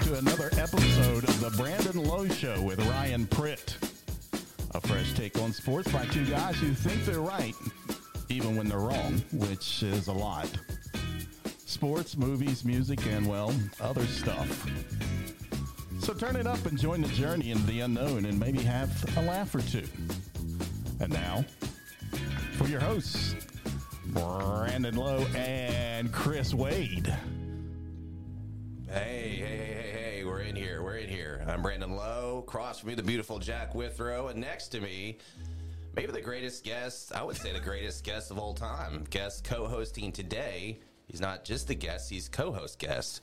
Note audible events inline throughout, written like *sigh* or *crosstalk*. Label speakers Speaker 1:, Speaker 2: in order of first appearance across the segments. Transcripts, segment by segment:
Speaker 1: to another episode of The Brandon Lowe Show with Ryan Pritt. A fresh take on sports by two guys who think they're right, even when they're wrong, which is a lot. Sports, movies, music, and, well, other stuff. So turn it up and join the journey into the unknown and maybe have a laugh or two. And now, for your hosts, Brandon Lowe and Chris Wade.
Speaker 2: Hey, hey, hey, hey, hey, we're in here. We're in here. I'm Brandon Lowe. Across from me, the beautiful Jack Withrow. And next to me, maybe the greatest guest, I would say the greatest guest of all time. Guest co hosting today. He's not just the guest, he's co host guest.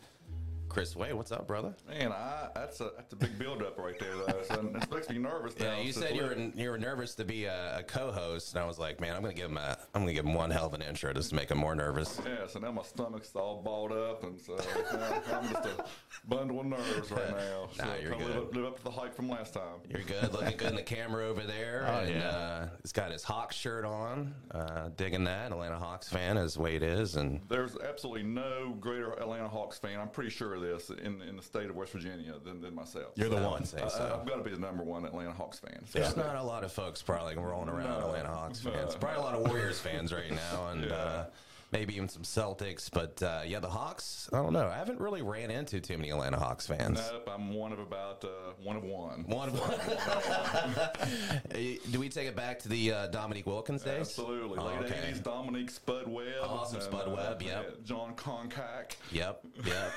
Speaker 2: Chris Wayne, what's up, brother?
Speaker 3: Man, I, that's a that's a big buildup right there. Though. So it makes me nervous.
Speaker 2: Yeah,
Speaker 3: now,
Speaker 2: you
Speaker 3: so
Speaker 2: said
Speaker 3: it's
Speaker 2: you were
Speaker 3: lit.
Speaker 2: you were nervous to be a, a co-host, and I was like, man, I'm gonna give him a I'm gonna give him one hell of an intro just to make him more nervous.
Speaker 3: Yeah, so now my stomach's all balled up, and so now I'm just a bundle of nerves right now.
Speaker 2: *laughs*
Speaker 3: So
Speaker 2: Nah, you're
Speaker 3: trying to live
Speaker 2: good.
Speaker 3: up, live up to the hype from last time.
Speaker 2: You're good, looking good in the camera over there.
Speaker 1: Oh,
Speaker 2: and,
Speaker 1: yeah.
Speaker 2: uh, he's got his Hawks shirt on, uh, digging that. Atlanta Hawks fan, as Wade is, and
Speaker 3: There's absolutely no greater Atlanta Hawks fan. I'm pretty sure of this in in the state of West Virginia than, than myself.
Speaker 1: You're the
Speaker 2: I
Speaker 1: one.
Speaker 2: would say
Speaker 3: I,
Speaker 2: so.
Speaker 3: I've got to be the number one Atlanta Hawks fan. So.
Speaker 2: There's not a lot of folks probably rolling around
Speaker 3: No.
Speaker 2: Atlanta Hawks fans. Probably a lot of Warriors fans right
Speaker 3: *laughs*
Speaker 2: now, and
Speaker 3: Yeah.
Speaker 2: uh, maybe even some Celtics. But uh, yeah, the Hawks. I don't know. I haven't really ran into too many Atlanta Hawks fans.
Speaker 3: Nope, I'm one of about uh, one of one.
Speaker 2: One of *laughs* Do we take it back to the uh, Dominique Wilkins days?
Speaker 3: Absolutely.
Speaker 2: Oh,
Speaker 3: Late
Speaker 2: okay.
Speaker 3: 80s, Dominique Spud Webb. uh,
Speaker 2: Awesome Spud Webb, yep.
Speaker 3: yeah, John Concack.
Speaker 2: Yep.
Speaker 3: *laughs*
Speaker 2: Yep.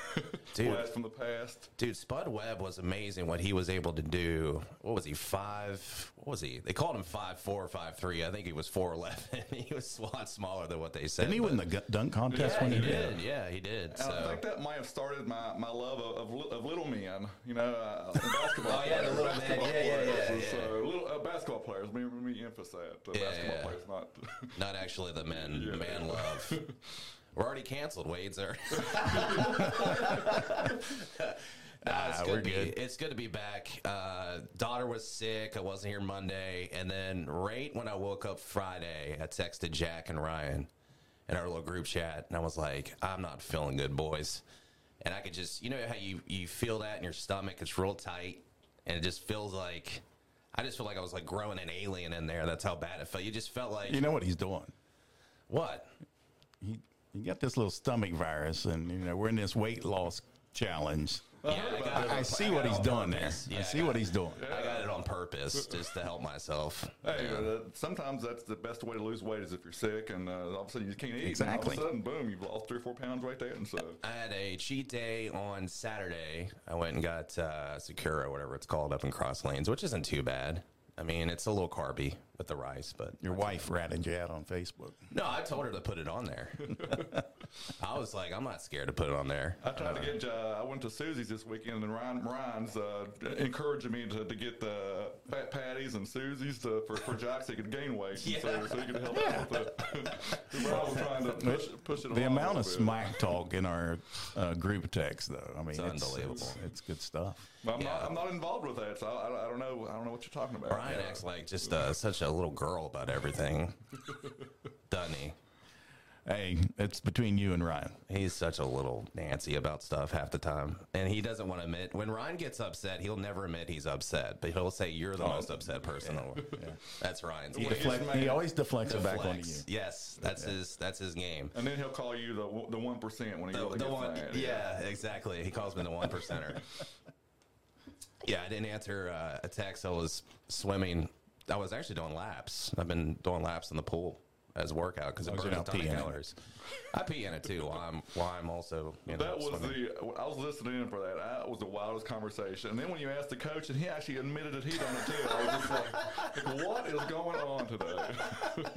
Speaker 2: Dude.
Speaker 3: Blast from the past.
Speaker 2: Dude, Spud Webb was amazing what he was able to do. What was he? Five? What was he? They called him five four or five three. I think he was four eleven. *laughs* he was a lot smaller than what they said.
Speaker 1: Didn't he
Speaker 2: but-
Speaker 1: win the gu- dunk contest
Speaker 2: Yeah,
Speaker 1: when
Speaker 2: he
Speaker 1: he
Speaker 2: did. Yeah, he did.
Speaker 3: And I
Speaker 2: So.
Speaker 3: think that might have started my, my love of, of, li- of little men, you know, uh, and basketball
Speaker 2: Oh, yeah, the
Speaker 3: players,
Speaker 2: little man.
Speaker 3: basketball
Speaker 2: Yeah, yeah, yeah,
Speaker 3: *laughs* players,
Speaker 2: yeah.
Speaker 3: So, little, uh, basketball players, let me, let me emphasize that. Uh,
Speaker 2: Yeah,
Speaker 3: basketball
Speaker 2: yeah.
Speaker 3: players, not. *laughs*
Speaker 2: Not actually the men, the
Speaker 3: Yeah.
Speaker 1: *laughs*
Speaker 2: man love. We're already canceled, Wade's are. Nah, it's
Speaker 1: Nah,
Speaker 2: good
Speaker 1: we're
Speaker 2: to be-
Speaker 1: good.
Speaker 2: it's good to be back. Uh, daughter was sick. I wasn't here Monday. And then right when I woke up Friday, I texted Jack and Ryan in our little group chat. And I was like, I'm not feeling good, boys. And I could just, you know how you, you feel that in your stomach? It's real tight. And it just feels like, I just feel like I was like growing an alien in there. That's how bad it felt. You just felt like,
Speaker 1: You know what he's doing.
Speaker 2: what?
Speaker 1: He, he got this little stomach virus, and you know we're in this weight loss challenge.
Speaker 2: Yeah, I, got,
Speaker 1: I see what he's doing there.
Speaker 2: Yeah,
Speaker 1: I
Speaker 2: I
Speaker 1: see
Speaker 2: got
Speaker 1: what
Speaker 2: it.
Speaker 1: he's doing.
Speaker 2: I got it on purpose just to help myself.
Speaker 3: Hey,
Speaker 2: Yeah.
Speaker 3: uh, sometimes that's the best way to lose weight is if you're sick and uh, all of a sudden you can't eat.
Speaker 1: Exactly.
Speaker 3: And all of a sudden, boom, you've lost three or four pounds right there. And so,
Speaker 2: I had a cheat day on Saturday. I went and got uh, Sakura, whatever it's called, up in Cross Lanes, which isn't too bad. I mean, it's a little carby with the rice, but
Speaker 1: Your wife ratted you out on Facebook.
Speaker 2: no, I told her to put it on there. I was like, I'm not scared to put it on there.
Speaker 3: I tried to get. Uh, I went to Susie's this weekend, and Ryan Ryan's uh, encouraging me to, to get the fat patties and Susie's to, for for Jack so he could gain weight, and so, so he could help out with it. *laughs* Ryan was trying to push, push it.
Speaker 1: The
Speaker 3: along a
Speaker 1: amount of
Speaker 3: little bit.
Speaker 1: smack talk in our uh, group text, though, I mean, it's,
Speaker 2: unbelievable.
Speaker 1: It's, it's good stuff.
Speaker 3: But I'm,
Speaker 2: yeah.
Speaker 3: not, I'm not involved with that, so I, I, I don't know. I don't know what you're talking about.
Speaker 2: Brian
Speaker 3: Yeah.
Speaker 2: acts like just uh, such a little girl about everything, doesn't he?
Speaker 1: Hey, it's between you and Ryan.
Speaker 2: He's such a little Nancy about stuff half the time, and he doesn't want to admit. When Ryan gets upset, he'll never admit he's upset, but he'll say you're the most upset person. in the world." That's Ryan's. He
Speaker 3: Deflect-
Speaker 2: deflects.
Speaker 1: He always deflects it back onto you.
Speaker 2: Yes, that's his. That's his game.
Speaker 3: And then he'll call you the the one percent when he
Speaker 2: The,
Speaker 3: really
Speaker 2: the
Speaker 3: gets
Speaker 2: one,
Speaker 3: mad.
Speaker 2: yeah, exactly. He calls me the one percenter. yeah, I didn't answer uh, a text. I was swimming. I was actually doing laps. I've been doing laps in the pool as a workout because it
Speaker 1: As long as you're
Speaker 2: burns a
Speaker 1: not
Speaker 2: ton of
Speaker 1: peeing in it.
Speaker 2: calories. I pee in it too. While I'm, while I'm also. You know,
Speaker 3: That was
Speaker 2: swimming.
Speaker 3: the I was listening in for that. That was the wildest conversation. And then when you asked the coach, and he actually admitted that he done it too. I was just like, *laughs* like, what is going on today?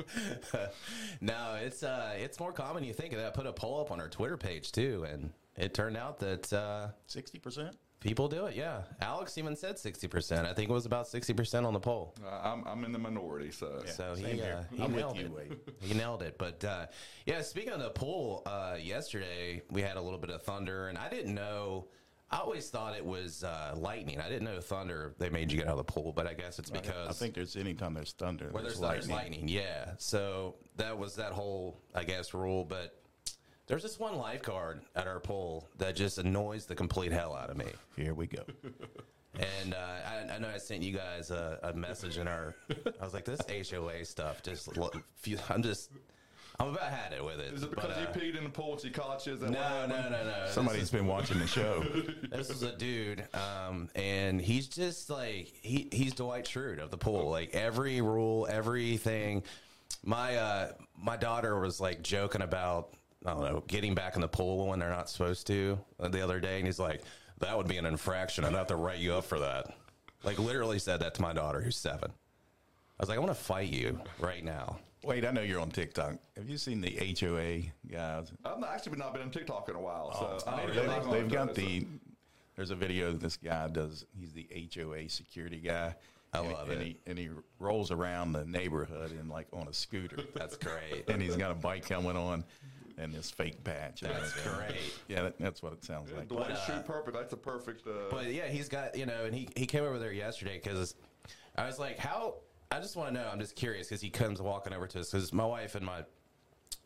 Speaker 2: no, it's uh, it's more common than you think. And I put a poll up on our Twitter page too, and it turned out that uh,
Speaker 1: 60%?
Speaker 2: people do it. Yeah, Alex even said sixty percent. I think it was about sixty percent on the poll.
Speaker 3: Uh, I'm I'm in the minority, so
Speaker 2: So
Speaker 1: Same
Speaker 2: he, uh,
Speaker 1: here.
Speaker 2: he
Speaker 1: I'm with
Speaker 2: nailed
Speaker 1: you,
Speaker 2: it.
Speaker 1: Wade.
Speaker 2: He nailed it. But uh, yeah, speaking of the pool, uh, yesterday we had a little bit of thunder, and I didn't know. I always thought it was uh, lightning. I didn't know thunder. They made you get out of the pool, but I guess it's because
Speaker 1: I think there's anytime there's thunder,
Speaker 2: where
Speaker 1: there's
Speaker 2: there's,
Speaker 1: lightning.
Speaker 2: lightning. Yeah. So that was that whole, I guess, rule. But There's this one lifeguard at our pool that just annoys the complete hell out of me.
Speaker 1: Here we go.
Speaker 2: And uh, I, I know I sent you guys a, a message in our. I was like, this HOA stuff. Just lo- few- I'm just. I'm about had it with it.
Speaker 3: Is it
Speaker 2: but,
Speaker 3: because
Speaker 2: uh,
Speaker 3: you peed in the pool with your college? Is that what
Speaker 2: no,
Speaker 3: happened?
Speaker 2: no, no, no.
Speaker 1: Somebody's been watching the show.
Speaker 2: *laughs* This is a dude, um, and he's just like he he's Dwight Schrute of the pool. Like every rule, everything. My uh, my daughter was like joking about I don't know getting back in the pool when they're not supposed to uh, the other day, and he's like, "That would be an infraction. I'd have to write you up for that." Like literally said that to my daughter who's seven. I was like, "I want to fight you right now."
Speaker 1: Wait, I know you're on TikTok. Have you seen the HOA guys?
Speaker 3: I've not, actually not been on TikTok in a while.
Speaker 2: Oh,
Speaker 3: So I need to
Speaker 1: They,
Speaker 3: get back on
Speaker 1: have
Speaker 3: it,
Speaker 1: got
Speaker 3: so-
Speaker 1: the. There's a video that this guy does. He's the HOA security guy.
Speaker 2: I
Speaker 1: and,
Speaker 2: love
Speaker 1: and
Speaker 2: it.
Speaker 1: He, and he rolls around the neighborhood in like on a scooter, *laughs*
Speaker 2: That's great.
Speaker 1: and he's got a bike helmet on, and this fake patch. and
Speaker 2: That's
Speaker 1: everything.
Speaker 2: great.
Speaker 1: Yeah, that, that's what it sounds like.
Speaker 3: Dwight Schrute uh, perfect. That's a perfect. Uh,
Speaker 2: But yeah, he's got you know, and he he came over there yesterday because I was like, how? I just want to know. I'm just curious because he comes walking over to us because my wife and my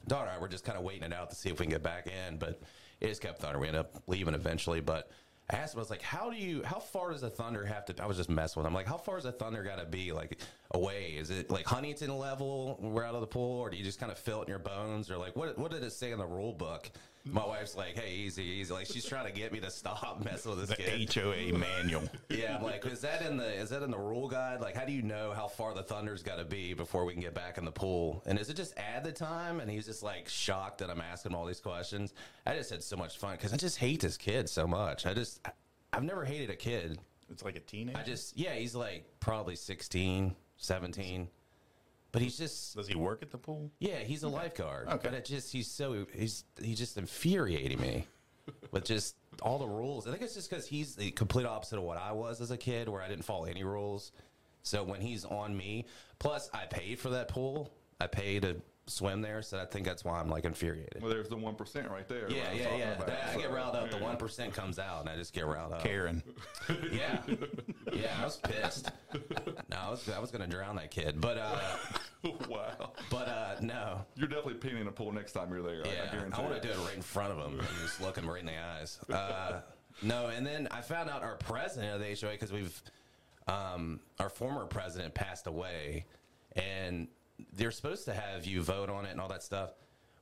Speaker 2: daughter and I were just kind of waiting it out to see if we can get back in, but it just kept thunder. We ended up leaving eventually, but. I asked him, I was like, how do you, how far does the thunder have to, I was just messing with him. Like, how far does the thunder got to be, like, away? Is it like Huntington level, when we're out of the pool, or do you just kind of feel it in your bones? Or like, what, what did it say in the rule book? My wife's like, hey, easy, easy. Like, she's trying to get me to stop *laughs* messing with this kid.
Speaker 1: HOA manual.
Speaker 2: Yeah, I'm like, is that in the is that in the rule guide? Like, how do you know how far the thunder's got to be before we can get back in the pool? And is it just add the time? And he's just like shocked that I'm asking him all these questions. I just had so much fun because I just hate this kid so much. I just I- I've never hated a kid.
Speaker 1: It's like a teenager.
Speaker 2: I just yeah, he's like probably 16, 17. but he's just
Speaker 1: Does he work at the pool?
Speaker 2: yeah, he's a lifeguard.
Speaker 1: Okay.
Speaker 2: But it just he's so he's he's just infuriating me with just all the rules. I think it's just because he's the complete opposite of what I was as a kid, where I didn't follow any rules. So when he's on me, plus I paid for that pool, I paid to swim there, so I think that's why I'm like infuriated.
Speaker 3: well, there's the one percent right there. what
Speaker 2: Yeah,
Speaker 3: I'm
Speaker 2: yeah,
Speaker 3: talking
Speaker 2: yeah.
Speaker 3: about,
Speaker 2: That- I
Speaker 3: so-
Speaker 2: get riled up. The one percent comes out, and I just get riled up.
Speaker 1: Karen.
Speaker 2: Yeah, yeah. I was pissed. No, I was I was gonna drown that kid, but uh,
Speaker 3: *laughs* wow.
Speaker 2: but uh, no.
Speaker 3: You're definitely peeing in a pool next time you're there. I- I
Speaker 2: Yeah, I,
Speaker 3: guarantee.
Speaker 2: want
Speaker 3: it.
Speaker 2: to do it right in front of him and just look him right in the eyes. Uh, no, and then I found out our president of the HOA because we've um, our former president passed away, and they're supposed to have you vote on it and all that stuff.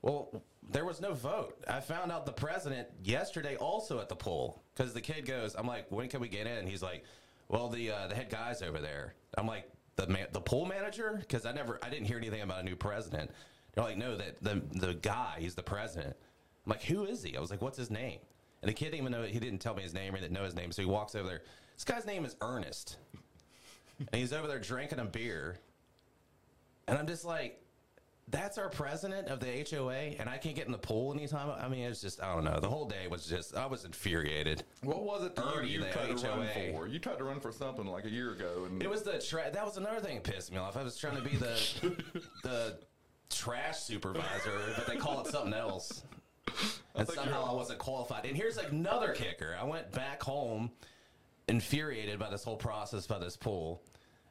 Speaker 2: Well, there was no vote. I found out the president yesterday also at the poll because the kid goes, "I'm like, when can we get in?" He's like, "Well, the uh, the head guy's over there." I'm like, "The man, the poll manager?" Because I never, I didn't hear anything about a new president. They're like, "No, that the the guy, he's the president." I'm like, "Who is he?" I was like, "What's his name?" And the kid didn't even know. He didn't tell me his name. or He didn't know his name. So he walks over there. This guy's name is Ernest and he's over there drinking a beer. And I'm just like, that's our president of the HOA, and I can't get in the pool anytime. I mean, it's just, I don't know. The whole day was just, I was infuriated.
Speaker 3: What was it that
Speaker 2: Ernie,
Speaker 3: you,
Speaker 2: the
Speaker 3: you tried to run
Speaker 2: HOA.
Speaker 3: for? You tried to run for something like a year ago, and
Speaker 2: It was the tra- that was another thing that pissed me off. I was trying to be the the trash supervisor, but they call it something else. And
Speaker 3: think
Speaker 2: somehow
Speaker 3: you're-
Speaker 2: I wasn't qualified. And here's another kicker. I went back home infuriated by this whole process by this pool.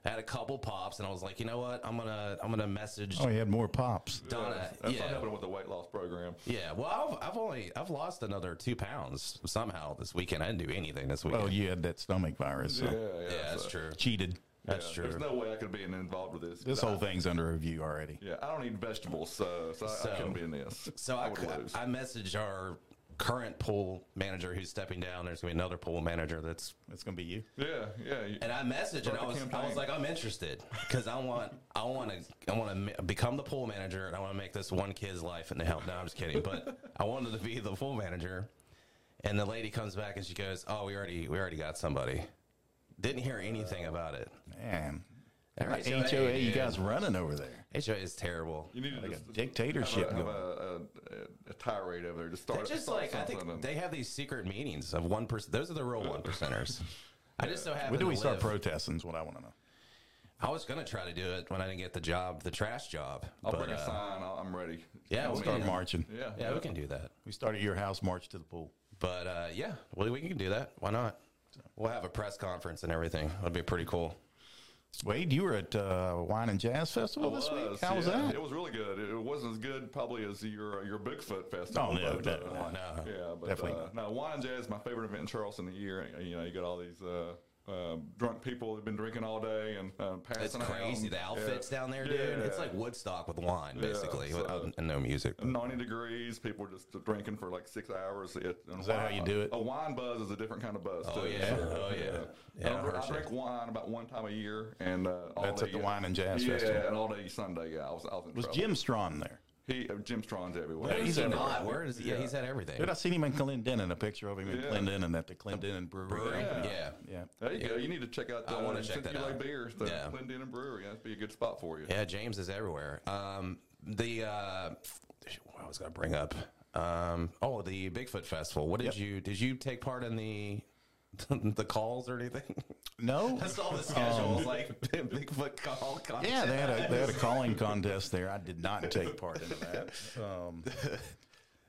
Speaker 2: I had a couple pops and I was like, you know what? I'm gonna I'm gonna message
Speaker 1: Oh, he had more pops.
Speaker 2: Donna.
Speaker 3: That's what
Speaker 2: yeah.
Speaker 3: happened with the weight loss program.
Speaker 2: Yeah, well, I've, I've only I've lost another two pounds somehow this weekend. I didn't do anything this weekend.
Speaker 1: Oh, you had that stomach virus. So.
Speaker 3: Yeah,
Speaker 2: yeah,
Speaker 3: yeah,
Speaker 2: that's
Speaker 3: so-
Speaker 2: true.
Speaker 1: Cheated.
Speaker 2: That's true.
Speaker 3: yeah, There's no way I could be involved with this.
Speaker 1: This
Speaker 3: I-
Speaker 1: whole thing's under review already.
Speaker 3: Yeah, I don't eat vegetables, so, so, I,
Speaker 2: So-
Speaker 3: I couldn't be in this.
Speaker 2: So I,
Speaker 3: would
Speaker 2: c-
Speaker 3: lose.
Speaker 2: I messaged our current pool manager who's stepping down. There's gonna be another pool manager that's
Speaker 1: It's gonna be you.
Speaker 3: yeah, yeah. you-
Speaker 2: and I messaged and
Speaker 3: Start
Speaker 2: I
Speaker 3: the
Speaker 2: was I was
Speaker 3: campaign.
Speaker 2: like I'm interested because I want I want to I want to become the pool manager and I want to make this one kid's life into hell. No, I'm just kidding, but I wanted to be the pool manager. And the lady comes back and she goes, "Oh, we already we already got somebody." Didn't hear anything about it.
Speaker 1: Man,
Speaker 2: All right,
Speaker 1: HOA,
Speaker 2: so, hey,
Speaker 1: you
Speaker 2: dude.
Speaker 1: guys running over there
Speaker 2: HOA is terrible.
Speaker 3: you need to
Speaker 1: like a
Speaker 3: just have,
Speaker 1: dictatorship.
Speaker 3: a, have
Speaker 1: going.
Speaker 3: a, a, a tirade over there. Just start.
Speaker 2: They're just
Speaker 3: start
Speaker 2: like I
Speaker 3: something
Speaker 2: think
Speaker 3: and-
Speaker 2: they have these secret meetings of one percent. Those are the real one percenters. I just so happen.
Speaker 1: when do
Speaker 2: to
Speaker 1: we start
Speaker 2: live-
Speaker 1: protesting? Is what I want to know.
Speaker 2: I was gonna try to do it when I didn't get the job, the trash job.
Speaker 3: I'll
Speaker 2: but,
Speaker 3: bring a
Speaker 2: uh,
Speaker 3: sign. I'll, I'm ready.
Speaker 2: yeah,
Speaker 3: Tell
Speaker 2: we'll
Speaker 3: me.
Speaker 1: Start
Speaker 2: Yeah.
Speaker 1: marching.
Speaker 3: Yeah,
Speaker 2: yeah, we can do that.
Speaker 1: We start at your house, march to the pool.
Speaker 2: But uh, yeah, well, we can do that. Why not? We'll have a press conference and everything. That'd be pretty cool.
Speaker 4: Wade, you were at uh, Wine and Jazz Festival this week. How was
Speaker 3: yeah.
Speaker 4: that?
Speaker 3: It was really good. It wasn't as good probably as your uh, your Bigfoot festival.
Speaker 4: Oh, no,
Speaker 3: but,
Speaker 4: definitely
Speaker 3: uh,
Speaker 4: not.
Speaker 2: No.
Speaker 3: Yeah, but
Speaker 4: Definitely
Speaker 3: uh, no, wine and jazz is my favorite event in Charleston the year. And, You know, you got all these uh, uh, drunk people who've been drinking all day and uh, passing
Speaker 2: It's
Speaker 3: out.
Speaker 2: crazy. The
Speaker 3: Yeah.
Speaker 2: outfits down there, dude.
Speaker 3: Yeah.
Speaker 2: It's like Woodstock with wine, basically,
Speaker 3: so-
Speaker 2: without- and no music.
Speaker 3: 90 degrees. People were just drinking for like six hours. It, and
Speaker 4: Is that how you do it?
Speaker 3: A wine buzz is a different kind of buzz.
Speaker 2: Oh,
Speaker 3: too.
Speaker 2: yeah. Oh, yeah. Yeah,
Speaker 3: I,
Speaker 2: I
Speaker 3: dr- I
Speaker 2: heard
Speaker 3: drink wine about one time a year, and uh, all
Speaker 4: That's at
Speaker 3: day-
Speaker 4: the Wine and Jazz
Speaker 3: yeah,
Speaker 4: Festival.
Speaker 3: and all day Sunday. Yeah, I was. I was in
Speaker 4: Was
Speaker 3: trouble.
Speaker 4: Jim Strawn there?
Speaker 3: He uh, Jim Strawn's everywhere.
Speaker 2: Where is
Speaker 4: he's
Speaker 2: he
Speaker 4: at
Speaker 2: not?
Speaker 4: everything.
Speaker 2: Where is he? Yeah, he's at everything.
Speaker 4: Dude, I seen him in Clendenin. A picture of him in
Speaker 3: Yeah.
Speaker 4: Clendenin at the Clendenin Brewery.
Speaker 2: Brewery?
Speaker 4: Yeah.
Speaker 2: Yeah.
Speaker 4: yeah.
Speaker 3: There you go. You need to check out uh, the
Speaker 2: I wanna check that
Speaker 3: Cinco
Speaker 2: out.
Speaker 3: Beers, the
Speaker 2: Yeah.
Speaker 3: Clinton and Brewery. That'd be a good spot for you.
Speaker 2: Yeah, James is everywhere. Um, the uh, what I was going to bring up. Um, oh, the Bigfoot Festival. What did you did you take part in the *laughs* the calls or anything? *laughs*
Speaker 4: No.
Speaker 2: I saw the schedule. it was like *laughs* Bigfoot call. Contest.
Speaker 4: Yeah, they had a they
Speaker 2: *laughs*
Speaker 4: had a calling contest there. I did not take part in that. Um,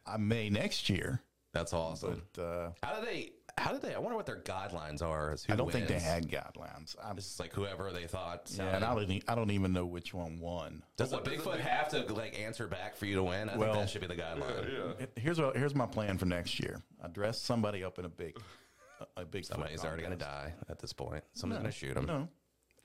Speaker 4: I may next year,
Speaker 2: that's awesome.
Speaker 4: but uh,
Speaker 2: How do they? How do they? I wonder what their guidelines are. As who
Speaker 4: I don't think they
Speaker 2: wins.
Speaker 4: had guidelines. I,
Speaker 2: It's just like whoever they thought.
Speaker 4: yeah, and I don't e- I don't even know which one won.
Speaker 2: Does the Bigfoot have to like answer back for you to win? I
Speaker 4: Well-
Speaker 2: think that should be the guideline.
Speaker 3: Yeah.
Speaker 4: Here's what here's my plan for next year. I dress somebody up in a big a, a big.
Speaker 2: Somebody's already going to die at this point. Someone's going to shoot him.
Speaker 4: No,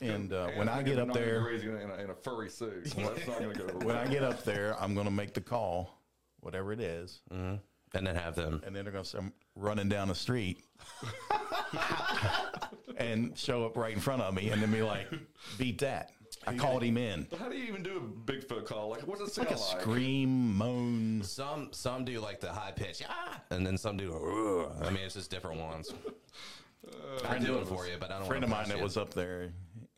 Speaker 4: and uh, when
Speaker 3: And
Speaker 4: I
Speaker 3: you
Speaker 4: get
Speaker 3: know,
Speaker 4: up
Speaker 3: 90
Speaker 4: there,
Speaker 3: degrees in a, in a- in a furry suit. Well, that's not going to go.
Speaker 4: *laughs* when I get up there, I'm going to make the call, whatever it is,
Speaker 2: And then have them.
Speaker 4: and then they're going to say, I'm running down the street and show up right in front of me and then be like, beat that. I called him in.
Speaker 3: How do you even do a Bigfoot call? Like, what's it sound
Speaker 4: Like
Speaker 3: like?
Speaker 4: a scream, moan.
Speaker 2: Some some do like the high pitch, ah, and then some do. "Ugh." I mean, it's just different ones. I do it for you, but I don't.
Speaker 4: Uh, friend of
Speaker 2: wanna
Speaker 4: mine
Speaker 2: press
Speaker 4: that
Speaker 2: you.
Speaker 4: was up there,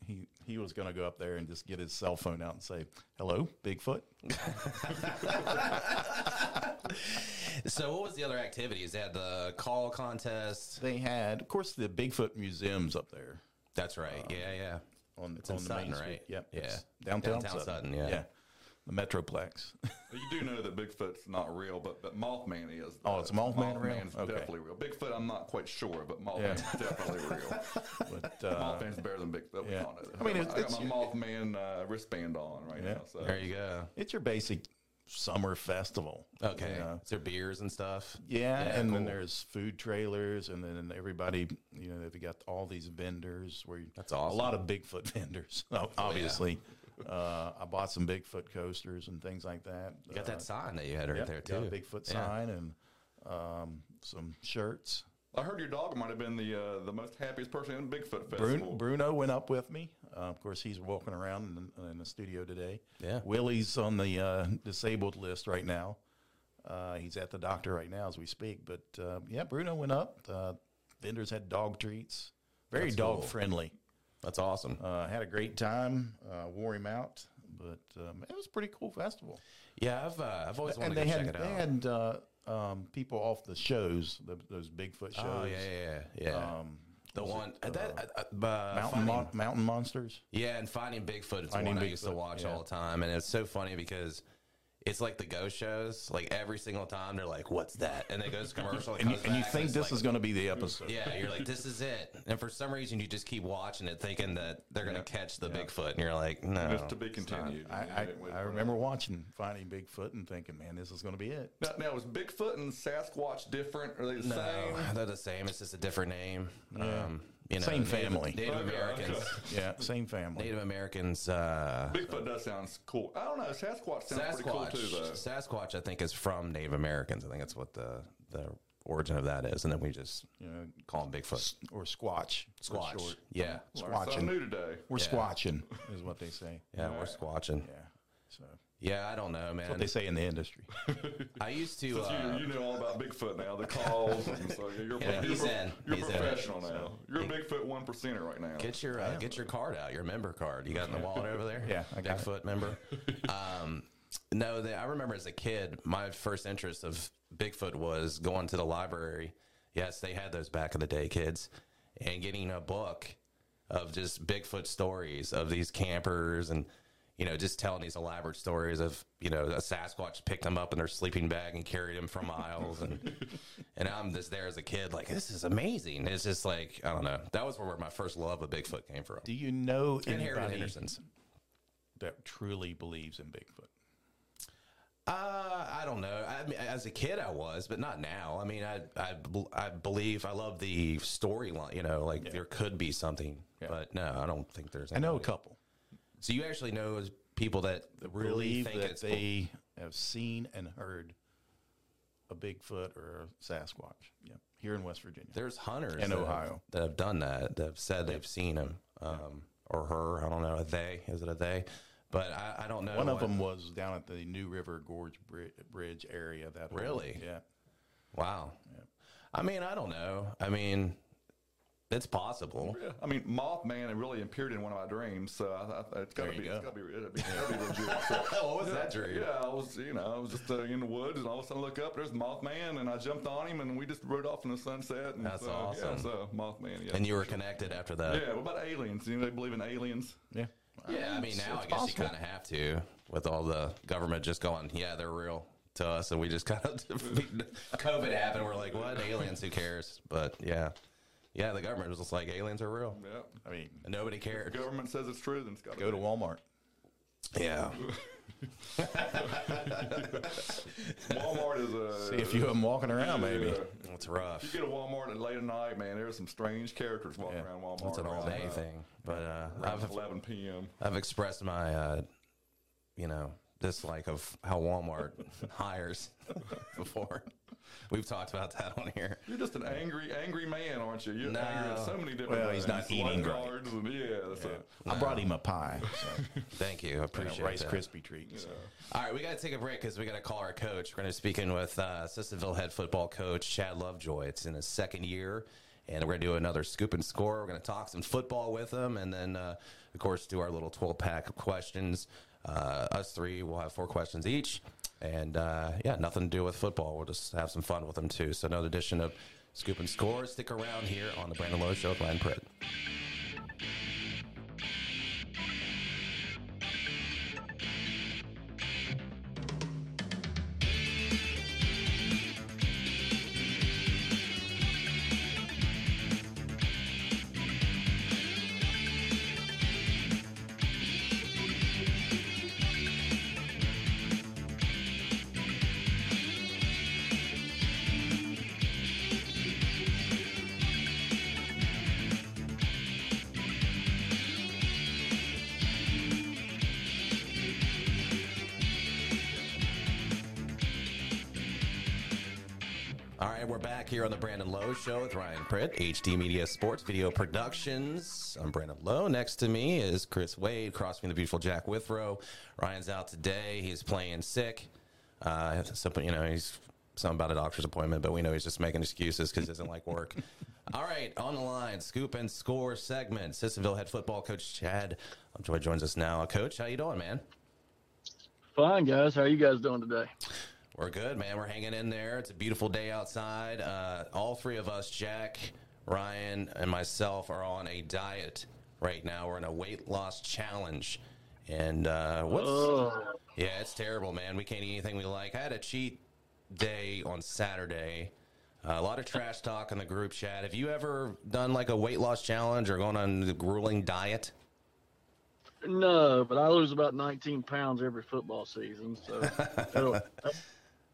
Speaker 4: he, he was going to go up there and just get his cell phone out and say, hello, Bigfoot.
Speaker 2: So, what was the other activities? They had the call contest.
Speaker 4: They had, of course, the Bigfoot Museum's up there.
Speaker 2: That's right.
Speaker 4: Um,
Speaker 2: yeah, yeah.
Speaker 4: On,
Speaker 2: in
Speaker 4: on the main
Speaker 2: Sutton,
Speaker 4: street.
Speaker 2: right?
Speaker 4: Yep.
Speaker 2: Yeah.
Speaker 4: it's Downtown,
Speaker 2: Downtown
Speaker 4: Sutton.
Speaker 2: Sutton, yeah.
Speaker 4: The
Speaker 2: *laughs*
Speaker 4: Metroplex.
Speaker 3: You do know that Bigfoot's not real, but, but Mothman is.
Speaker 4: Oh, it's Mothman real?
Speaker 3: Mothman's
Speaker 4: Okay.
Speaker 3: definitely real. Bigfoot, I'm not quite sure, but Mothman's *laughs* definitely real.
Speaker 4: But, *laughs* uh,
Speaker 3: Mothman's better than Bigfoot. We
Speaker 4: yeah.
Speaker 3: all know that.
Speaker 4: I mean, it's-
Speaker 3: I got
Speaker 4: it's-
Speaker 3: my Mothman uh, wristband on right
Speaker 4: Yeah.
Speaker 3: now. So.
Speaker 2: There you go.
Speaker 4: it's your basic summer festival.
Speaker 2: Okay.
Speaker 4: You know?
Speaker 2: Is there beers and stuff?
Speaker 4: Yeah,
Speaker 2: Yeah,
Speaker 4: and
Speaker 2: cool.
Speaker 4: then there's food trailers, and then everybody, you know, they've got all these vendors where you,
Speaker 2: That's awesome.
Speaker 4: a
Speaker 2: Oh,
Speaker 4: lot of Bigfoot *laughs* vendors, ob- obviously. Uh, I bought some Bigfoot coasters and things like that.
Speaker 2: You got that sign that you had right there
Speaker 4: Uh, got
Speaker 2: too.
Speaker 4: a Bigfoot
Speaker 2: Yeah.
Speaker 4: sign and um, some shirts.
Speaker 3: I heard your dog might have been the uh, the most happiest person in Bigfoot
Speaker 4: Bruno,
Speaker 3: Festival.
Speaker 4: Bruno went up with me. Uh, of course, he's walking around in, in the studio today.
Speaker 2: Yeah.
Speaker 4: Willie's on the uh, disabled list right now. Uh, he's at the doctor right now as we speak. But uh, yeah, Bruno went up. Uh, vendors had dog treats. Very
Speaker 2: That's
Speaker 4: dog
Speaker 2: cool.
Speaker 4: friendly.
Speaker 2: That's awesome.
Speaker 4: Uh, had a great time. Uh, wore him out. But um, it was a pretty cool festival.
Speaker 2: Yeah, I've uh, I've always
Speaker 4: and
Speaker 2: wanted to
Speaker 4: they
Speaker 2: go
Speaker 4: had,
Speaker 2: check it
Speaker 4: they
Speaker 2: out.
Speaker 4: had uh, um, people off the shows, the, those Bigfoot shows.
Speaker 2: oh yeah, yeah, yeah. yeah.
Speaker 4: Um,
Speaker 2: the one that uh, uh, uh,
Speaker 4: Mountain,
Speaker 2: finding-
Speaker 4: mon- mountain monsters.
Speaker 2: Yeah, and Finding Bigfoot is
Speaker 4: Finding
Speaker 2: one I used to
Speaker 4: Bigfoot,
Speaker 2: watch
Speaker 4: yeah.
Speaker 2: all the time, and it's so funny because it's like the ghost shows. Like every single time, they're like, "What's that?" And it goes commercial, it
Speaker 4: And you,
Speaker 2: comes
Speaker 4: and you
Speaker 2: back,
Speaker 4: think
Speaker 2: it's
Speaker 4: this
Speaker 2: like-
Speaker 4: is going to be the episode?
Speaker 2: Yeah, you're like, "This is it," and for some reason, you just keep watching it, thinking that they're gonna catch the Bigfoot, and you're like, "No."
Speaker 3: Just to be continued.
Speaker 4: I, I, I remember watching Finding Bigfoot and thinking, man, this is going to be it.
Speaker 3: Now, now, is Bigfoot and Sasquatch different? Are they the
Speaker 2: no,
Speaker 3: same?
Speaker 2: they're the same. It's just a different name. Um, you know,
Speaker 4: Same
Speaker 2: Native-
Speaker 4: family.
Speaker 2: Native
Speaker 3: Okay,
Speaker 2: Americans.
Speaker 3: okay.
Speaker 4: Yeah, same family.
Speaker 2: Native Americans. Uh,
Speaker 3: Bigfoot does sound cool. I don't know. Sasquatch sounds
Speaker 2: Sasquatch.
Speaker 3: pretty cool too, though.
Speaker 2: Sasquatch, I think, is from Native Americans. I think that's what the the origin of that is, and then we just
Speaker 4: You know,
Speaker 2: call him Bigfoot.
Speaker 4: or Squatch. for
Speaker 2: Squatch.
Speaker 4: short.
Speaker 2: Yeah.
Speaker 3: Learned something
Speaker 4: Squatching.
Speaker 3: new today.
Speaker 4: We're squatching, is what they say.
Speaker 2: Yeah, we're squatching.
Speaker 4: Yeah. So
Speaker 2: Yeah, I don't know,
Speaker 4: what they
Speaker 2: man.
Speaker 4: say in the industry.
Speaker 2: I used to.
Speaker 3: Since
Speaker 2: Uh,
Speaker 3: you, you know all about Bigfoot now, the calls. and so you're
Speaker 2: *laughs* Yeah,
Speaker 3: you're,
Speaker 2: he's
Speaker 3: pro-
Speaker 2: in.
Speaker 3: you're
Speaker 2: He's in.
Speaker 3: professional now. You're a Bigfoot one percenter right now.
Speaker 2: get your uh, get your card out, your member card. You got in the wallet over there.
Speaker 4: *laughs* Yeah, I got it. *laughs*
Speaker 2: Bigfoot member. Um, no, they, I remember as a kid, my first interest of Bigfoot was going to the library. Yes, they had those back in the day, kids, and getting a book of just Bigfoot stories of these campers and you know, just telling these elaborate stories of, you know, a Sasquatch picked them up in their sleeping bag and carried them for miles.
Speaker 4: *laughs*
Speaker 2: And, and I'm just there as a kid, like, this is amazing. It's just like, I don't know. That was where my first love of Bigfoot came from.
Speaker 4: Do you know
Speaker 2: And Harry
Speaker 4: anybody
Speaker 2: Henderson's.
Speaker 4: that truly believes in Bigfoot?
Speaker 2: Uh, I don't know. I mean, as a kid, I was, but not now. I mean, I, I, bel- I believe I love the storyline. You know, like there could be something,
Speaker 4: Yeah.
Speaker 2: but no, I don't think there's.
Speaker 4: I know a
Speaker 2: anybody.
Speaker 4: couple.
Speaker 2: So you actually know people that really
Speaker 4: Believe
Speaker 2: think
Speaker 4: that
Speaker 2: it's
Speaker 4: they have seen and heard a Bigfoot or a Sasquatch. Yeah, here in West Virginia.
Speaker 2: there's hunters
Speaker 4: In
Speaker 2: that have-
Speaker 4: Ohio.
Speaker 2: that have done that. That have said they've seen him um, or her. I don't know. A they is it a they? But I, I don't know.
Speaker 4: One of
Speaker 2: what-
Speaker 4: them was down at the New River Gorge Bri- Bridge area. That whole-
Speaker 2: Really?
Speaker 4: yeah.
Speaker 2: Wow. I mean, I don't know. I mean,
Speaker 4: *laughs*
Speaker 2: it's possible.
Speaker 3: Yeah, I mean, Mothman it really appeared in one of my dreams, so I, I, it's gotta
Speaker 4: There you
Speaker 3: be,
Speaker 4: go.
Speaker 3: it's gotta be, it'll be, it'll
Speaker 2: *laughs*
Speaker 3: be legit. So,
Speaker 2: Oh, what was that dream?
Speaker 3: yeah, I was, you know, I was just uh, in the woods, and all of a sudden I look up, there's Mothman, and I jumped on him, and we just rode off in the sunset. And
Speaker 2: That's
Speaker 3: so,
Speaker 2: awesome.
Speaker 3: Yeah, so Mothman, yeah,
Speaker 2: And uh, you were connected after that.
Speaker 3: yeah. What about aliens? You know, they believe in aliens.
Speaker 4: Yeah.
Speaker 2: Yeah, I mean now I guess you kind of have to with all the government just going, yeah, they're real to us, and we just kind of *laughs* COVID happened. We're like, what aliens? Who cares? But yeah, yeah, the government was just like aliens are real,
Speaker 3: Yeah,
Speaker 4: I mean,
Speaker 2: and nobody cared.
Speaker 3: the government says it's true, then it's gotta
Speaker 4: go to Walmart.
Speaker 2: Yeah,
Speaker 3: be.
Speaker 2: *laughs*
Speaker 3: Walmart is a.
Speaker 4: See if *laughs*
Speaker 2: Uh,
Speaker 4: you have them walking around,
Speaker 3: yeah.
Speaker 4: maybe.
Speaker 2: it's rough.
Speaker 3: You get a Walmart at late at night, man. There's some strange characters walking
Speaker 4: Yeah.
Speaker 3: around Walmart.
Speaker 2: It's an all
Speaker 3: around,
Speaker 2: day
Speaker 3: uh,
Speaker 2: thing, but uh,
Speaker 3: around
Speaker 2: I've
Speaker 3: 11 p.m.
Speaker 2: I've expressed my, uh, you know, dislike of how Walmart *laughs* hires before. We've talked about that on here.
Speaker 3: You're just an angry, angry man, aren't you? You're
Speaker 2: No.
Speaker 3: angry at so many different.
Speaker 4: Well, he's not
Speaker 3: things.
Speaker 4: eating right.
Speaker 3: Lifeguards And, yeah, that's it.
Speaker 4: I brought him a pie,
Speaker 2: *laughs*
Speaker 4: so,
Speaker 2: Thank you, I
Speaker 4: and a
Speaker 2: appreciate
Speaker 4: Rice
Speaker 2: that.
Speaker 4: Krispie treat. so.
Speaker 2: All right, we got to take a break because we got to call our coach. We're going to be speaking with uh, Sissonville head football coach Chad Lovejoy. It's in his second year, and we're going to do another scoop and score. We're going to talk some football with him, and then, uh, of course, do our little 12 pack of questions. Uh, us three will have four questions each. And uh, yeah, nothing to do with football. We'll just have some fun with them, too. So, another edition of Scoop and Score. Stick around here on the Brandon Lowe Show with Ryan Pritt. All right, we're back here on the Brandon Lowe Show with Ryan Pritt, HD Media Sports Video Productions. I'm Brandon Lowe. Next to me is Chris Wade, across from the beautiful Jack Withrow. Ryan's out today. He's playing sick. Uh, something, you know, he's something about a doctor's appointment, but we know he's just making excuses because he doesn't like work. All right, on the line, scoop and score segment. Sissonville head football coach Chad Lovejoy joins us now. Coach, how you doing, man?
Speaker 5: Fine, guys. How are you guys doing today?
Speaker 2: We're good, man. We're hanging in there. It's a beautiful day outside. Uh, all three of us, Jack, Ryan, and myself, are on a diet right now. We're in a weight loss challenge. And uh, what's.
Speaker 5: Oh,
Speaker 2: Yeah, it's terrible, man. We can't eat anything we like. I had a cheat day on Saturday. Uh, a lot of trash talk in the group chat. Have you ever done like a weight loss challenge or gone on a grueling diet?
Speaker 5: no, but I lose about 19 pounds every football season. So, that'll-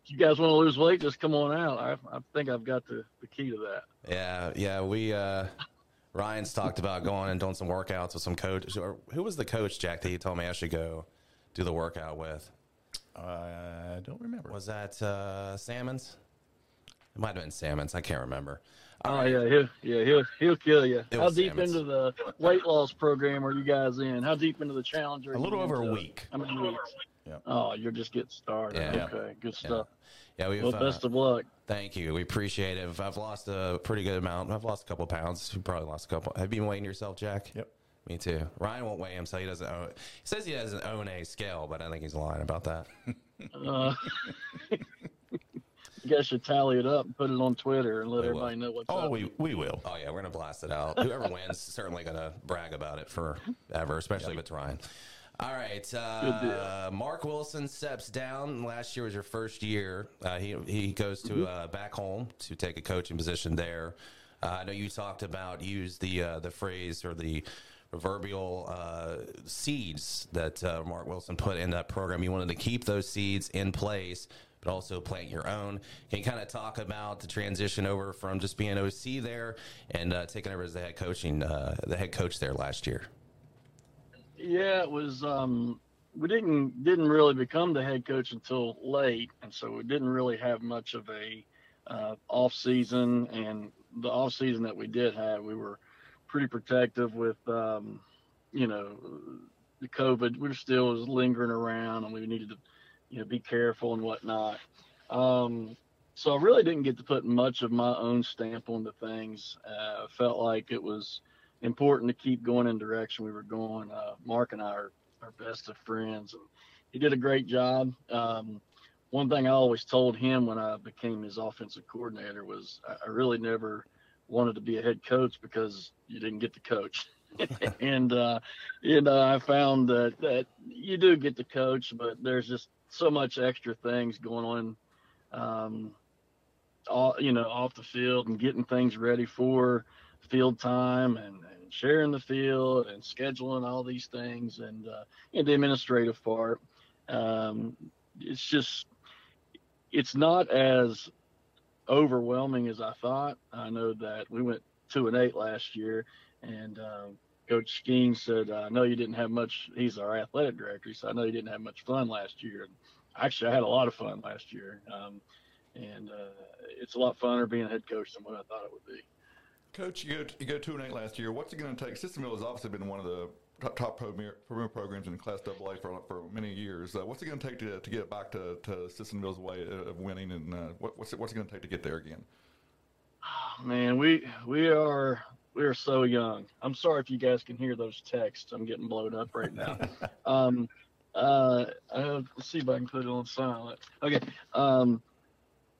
Speaker 5: if you guys want to lose weight, just come on out. I, I think I've got the, the key to that.
Speaker 2: Yeah, yeah. We uh, Ryan's talked about going and doing some workouts with some coach. Or who was the coach, Jack, that you told me I should go do the workout with?
Speaker 4: Uh, I don't remember.
Speaker 2: Was that uh, Salmons? It might have been Salmons. I can't remember. All
Speaker 5: Oh
Speaker 2: right.
Speaker 5: yeah, he'll, yeah, he'll he'll kill you.
Speaker 2: It
Speaker 5: How
Speaker 2: was
Speaker 5: deep
Speaker 2: salmons.
Speaker 5: into the weight loss program are you guys in? How deep into the challenge? Are
Speaker 4: a little
Speaker 5: you
Speaker 4: over a
Speaker 5: into?
Speaker 4: week.
Speaker 5: How many weeks?
Speaker 4: Yeah.
Speaker 5: Oh, you're just getting started.
Speaker 2: Yeah.
Speaker 5: Okay, good stuff.
Speaker 2: Yeah, we've.
Speaker 5: Well,
Speaker 2: uh,
Speaker 5: best of luck.
Speaker 2: thank you. We appreciate it. I've- I've lost a pretty good amount. I've lost a couple pounds. You probably lost a couple. Have you been weighing yourself, Jack?
Speaker 4: Yep.
Speaker 2: Me too. Ryan won't weigh him, so he doesn't. Own, he says he doesn't own a scale, but I think he's lying about that.
Speaker 5: Uh, *laughs* you guys should tally it up and put it on Twitter and let
Speaker 2: We will.
Speaker 5: everybody know what's
Speaker 4: Oh,
Speaker 5: up.
Speaker 4: we we will.
Speaker 2: Oh yeah, we're gonna blast it out. Whoever wins is certainly gonna brag about it forever, especially if it's Ryan. All right. Uh, Mark Wilson steps down. Last year was your first year. Uh, he he goes to uh, back home to take a coaching position there. Uh, I know you talked about use the uh, the phrase or the proverbial uh, seeds that uh, Mark Wilson put in that program. You wanted to keep those seeds in place, but also plant your own. Can you kind of talk about the transition over from just being OC there and uh, taking over as the head coaching uh, the head coach there last year?
Speaker 5: Yeah, it was. Um, we didn't didn't really become the head coach until late, and so we didn't really have much of a uh, off season. And the off season that we did have, we were pretty protective with, um, you know, the COVID. We were still was lingering around, and we needed to, you know, be careful and whatnot. Um, so I really didn't get to put much of my own stamp on the things. Uh, I felt like it was important to keep going in the direction we were going. Uh, Mark and I are, are best of friends, and he did a great job. Um, one thing I always told him when I became his offensive coordinator was I, I really never wanted to be a head coach because you didn't get to coach. and uh, you know, I found that that you do get to coach, but there's just so much extra things going on. Um, all, you know, off the field and getting things ready for field time and, and sharing the field and scheduling all these things and, uh, and the administrative part. Um, it's just, it's not as overwhelming as I thought. I know that we went two and eight last year, and uh, Coach Skeen said, "I know you didn't have much." He's our athletic director, so I know you didn't have much fun last year. And actually, I had a lot of fun last year, um, and uh, it's a lot funner being a head coach than what I thought it would be.
Speaker 3: Coach, you go, you go two and eight last year. What's it going to take? System Hill has obviously been one of the top, top premier, premier programs in Class AA for, for many years. Uh, what's it going to take to, to get back to, to System Hill's way of winning, and uh, what, what's it, what's it going to take to get there again?
Speaker 5: Oh, man, we we are we are so young. I'm sorry if you guys can hear those texts. I'm getting blown up right now. um, uh, I'll see if I can put it on silent. Okay. Um,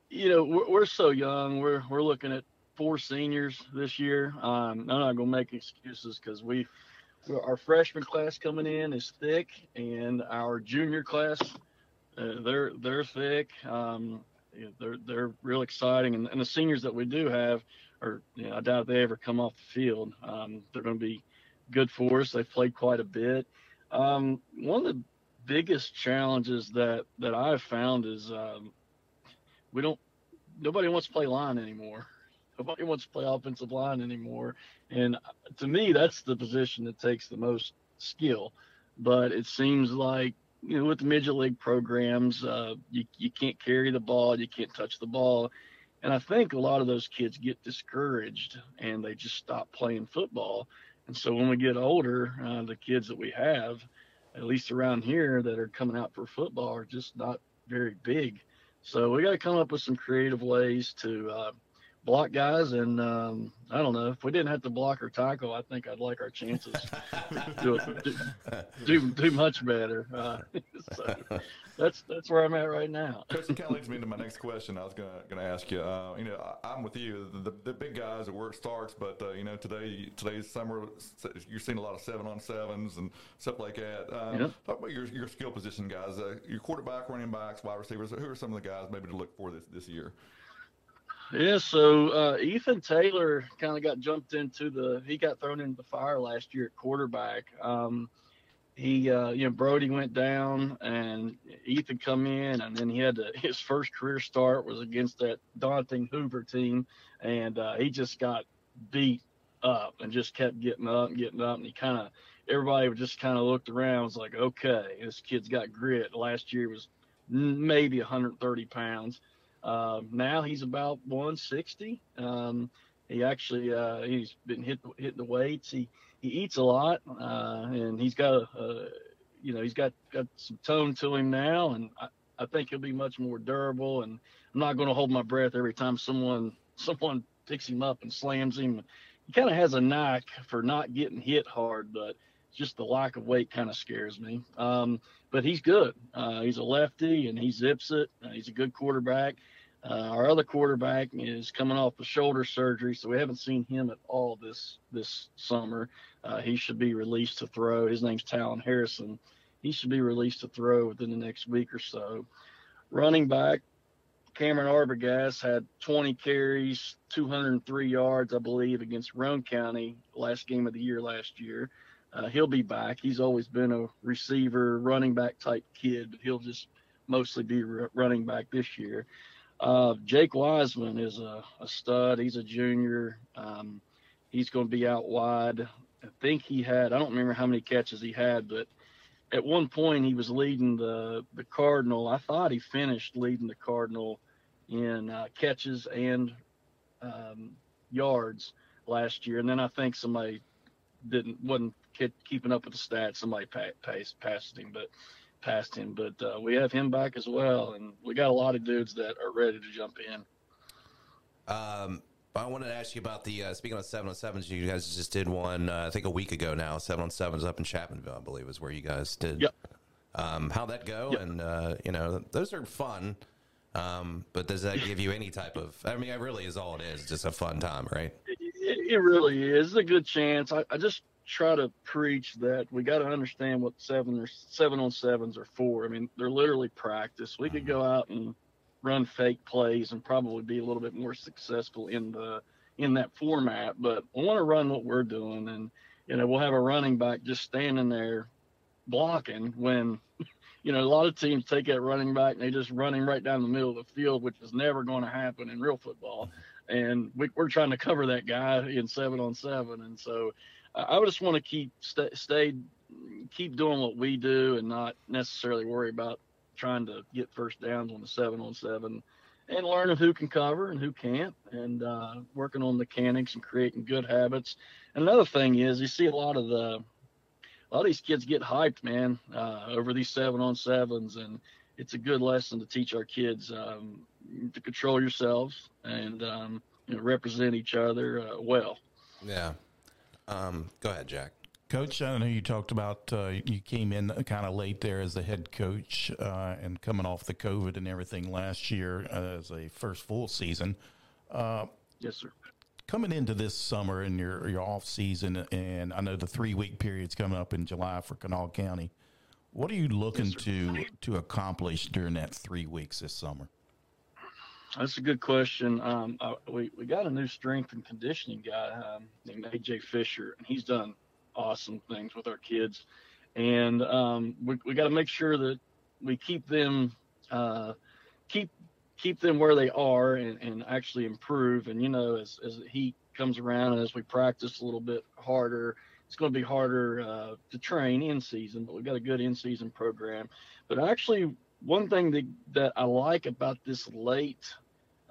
Speaker 5: you know, we're, we're so young. We're we're looking at four seniors this year. Um, I'm not gonna make excuses because we our freshman class coming in is thick, and our junior class uh, they're they're thick. Um, they're they're real exciting, and, and the seniors that we do have are you know, I doubt they ever come off the field. Um, they're going to be good for us. They've played quite a bit. Um, one of the biggest challenges that that I've found is um, we don't nobody wants to play line anymore *laughs* nobody wants to play offensive line anymore. And to me, that's the position that takes the most skill. But it seems like you know, with the major league programs, uh, you you can't carry the ball, you can't touch the ball, and I think a lot of those kids get discouraged and they just stop playing football. And so when we get older, uh, the kids that we have, at least around here, that are coming out for football are just not very big. So we got to come up with some creative ways to uh, block guys and um, i don't know if we didn't have to block or tackle i think i'd like our chances do, do, do, do much better uh, *laughs* so that's that's where i'm at right now
Speaker 3: Coach, it kind of leads me into my next question. I was gonna gonna ask you. Uh, you know, I, am with you. The, the, the big guys at work starts, but uh, you know, today today's summer, you're seeing a lot of seven on sevens and stuff like that. Um,
Speaker 5: Yeah.
Speaker 3: Talk about your your skill position guys. Uh, your quarterback, running backs, wide receivers. Who are some of the guys maybe to look for this this year?
Speaker 5: Yeah, so uh, Ethan Taylor kind of got jumped into the. He got thrown into the fire last year at quarterback. Um, he, uh, you know, Brody went down, and Ethan come in, and then he had to, *laughs* his first career start was against that daunting Hoover team, and uh, he just got beat up and just kept getting up and getting up, and he kind of everybody just kind of looked around, was like, okay, this kid's got grit. Last year was maybe 130 pounds. Um, now he's about 160. Um, he actually uh, he's been hit hitting the weights. He he eats a lot, uh, and he's got a, a you know he's got got some tone to him now, and I, I think he'll be much more durable. And I'm not going to hold my breath every time someone *laughs* someone picks him up and slams him. He kind of has a knack for not getting hit hard, but just the lack of weight kind of scares me. Um, but he's good. Uh, he's a lefty and he zips it. Uh, he's a good quarterback. Uh, our other quarterback is coming off the shoulder surgery, so we haven't seen him at all this this summer. Uh, he should be released to throw. His name's Talon Harrison, He should be released to throw within the next week or so. Running back Cameron Arbogast had 20 carries, 203 yards, I believe, against Roan County last game of the year last year. Uh, he'll be back. He's always been a receiver, running back type kid, but he'll just mostly be r- running back this year. Uh, Jake Wiseman is a, a stud. He's a junior. Um, he's going to be out wide. I think he had, I don't remember how many catches he had, but at one point he was leading the, the Cardinal. I thought he finished leading the Cardinal in uh, catches and um, yards last year. And then I think somebody didn't wasn't ke- keeping up with the stats. Somebody pa- passed, passed him, but passed him. But uh, we have him back as well, and we got a lot of dudes that are ready to jump in.
Speaker 2: Um, I wanted to ask you about the uh, speaking of seven on sevens. You guys just did one, uh, I think, a week ago now. Seven on sevens up in Chapmanville, I believe, is where you guys did.
Speaker 5: Yep.
Speaker 2: Um, how'd that go?
Speaker 5: Yep.
Speaker 2: And uh, you know, those are fun. Um, but does that give you any type of? I mean, it really is all it is, just a fun time, right?
Speaker 5: It, it really is It's a good chance. I, I just try to preach that we got to understand what seven or seven on sevens are for. I mean, they're literally practice. We could go out and run fake plays and probably be a little bit more successful in the in that format. But I want to run what we're doing, and you know, we'll have a running back just standing there blocking when. *laughs* You know, a lot of teams take that running back and they just run him right down the middle of the field, which is never going to happen in real football and we, we're trying to cover that guy in seven on seven. And so I I would just want to keep stay, stay keep doing what we do and not necessarily worry about trying to get first downs on the seven on seven and learning who can cover and who can't and uh, working on mechanics and creating good habits. Another thing is you see a lot of the a lot of these kids get hyped, man, uh, over these seven on sevens, and it's a good lesson to teach our kids um, to control yourselves and um, you know, represent each other uh, well.
Speaker 2: Yeah. Um, go ahead, Jack.
Speaker 4: Coach, I know you talked about uh, you came in kind of late there as the head coach uh, and coming off the COVID and everything last year uh, as a first full season. Uh,
Speaker 5: Yes, sir.
Speaker 4: Coming into this summer and your your off season, and I know the three week period's coming up in July for Kanawha County. What are you looking to to accomplish during that three weeks this summer?
Speaker 5: That's a good question. Um, I, we we got a new strength and conditioning guy um, named AJ Fisher, and he's done awesome things with our kids. And um, we we got to make sure that we keep them uh, keep keep them where they are and, and actually improve. And you know, as as the heat comes around and as we practice a little bit harder, it's going to be harder uh, to train in season. But we've got a good in season program. But actually, one thing that that I like about this late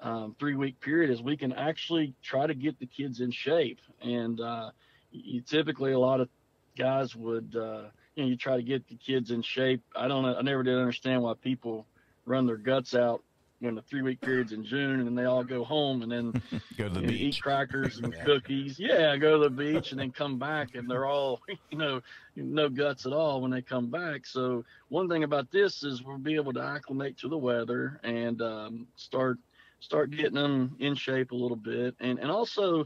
Speaker 5: um, three week period is we can actually try to get the kids in shape. And uh, you typically, a lot of guys would, uh, you know, you try to get the kids in shape. I don't know. I never did understand why people run their guts out when the three week period's in June and then they all go home and then
Speaker 4: Go to the
Speaker 5: you know, eat
Speaker 4: beach.
Speaker 5: crackers and cookies. Yeah, go to the beach and then come back, and they're all *laughs* you know, no guts at all when they come back. So one thing about this is we'll be able to acclimate to the weather and um, start start getting them in shape a little bit, and and also.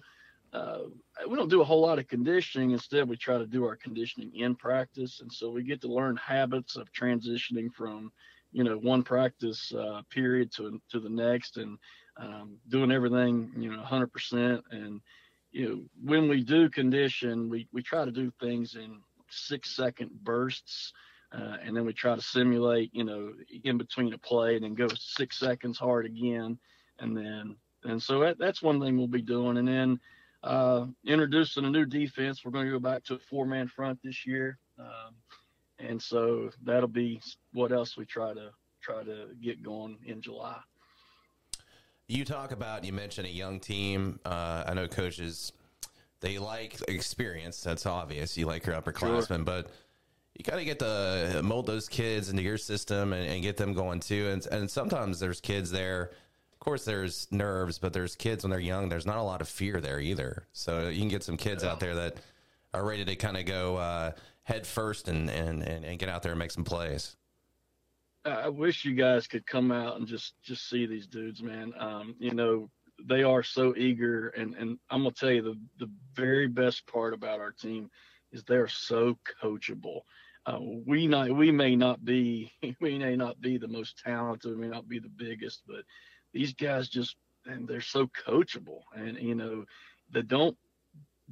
Speaker 5: Uh, we don't do a whole lot of conditioning. Instead, we try to do our conditioning in practice, and so we get to learn habits of transitioning from, you know, one practice uh, period to to the next, and um, doing everything you know 100% and you know when we do condition we, we try to do things in six second bursts uh, and then we try to simulate you know in between a play and then go six seconds hard again and then and so that, that's one thing we'll be doing and then uh, introducing a new defense we're going to go back to a four man front this year um, and so that'll be what else we try to try to get going in july
Speaker 2: You talk about you mentioned a young team. Uh, I know coaches they like experience. That's obvious. You like your upperclassmen, but you got to get the mold those kids into your system and, and get them going too. And and sometimes there's kids there. Of course, there's nerves, but there's kids when they're young. There's not a lot of fear there either. So you can get some kids out there that are ready to kind of go uh, head first and, and and and get out there and make some plays.
Speaker 5: I I wish you guys could come out and just just see these dudes, man. Um, you know, they are so eager, and and I'm gonna tell you the the very best part about our team is they are so coachable. uh, we not we may not be *laughs* we may not be the most talented, we may not be the biggest, but these guys just and they're so coachable, and you know they don't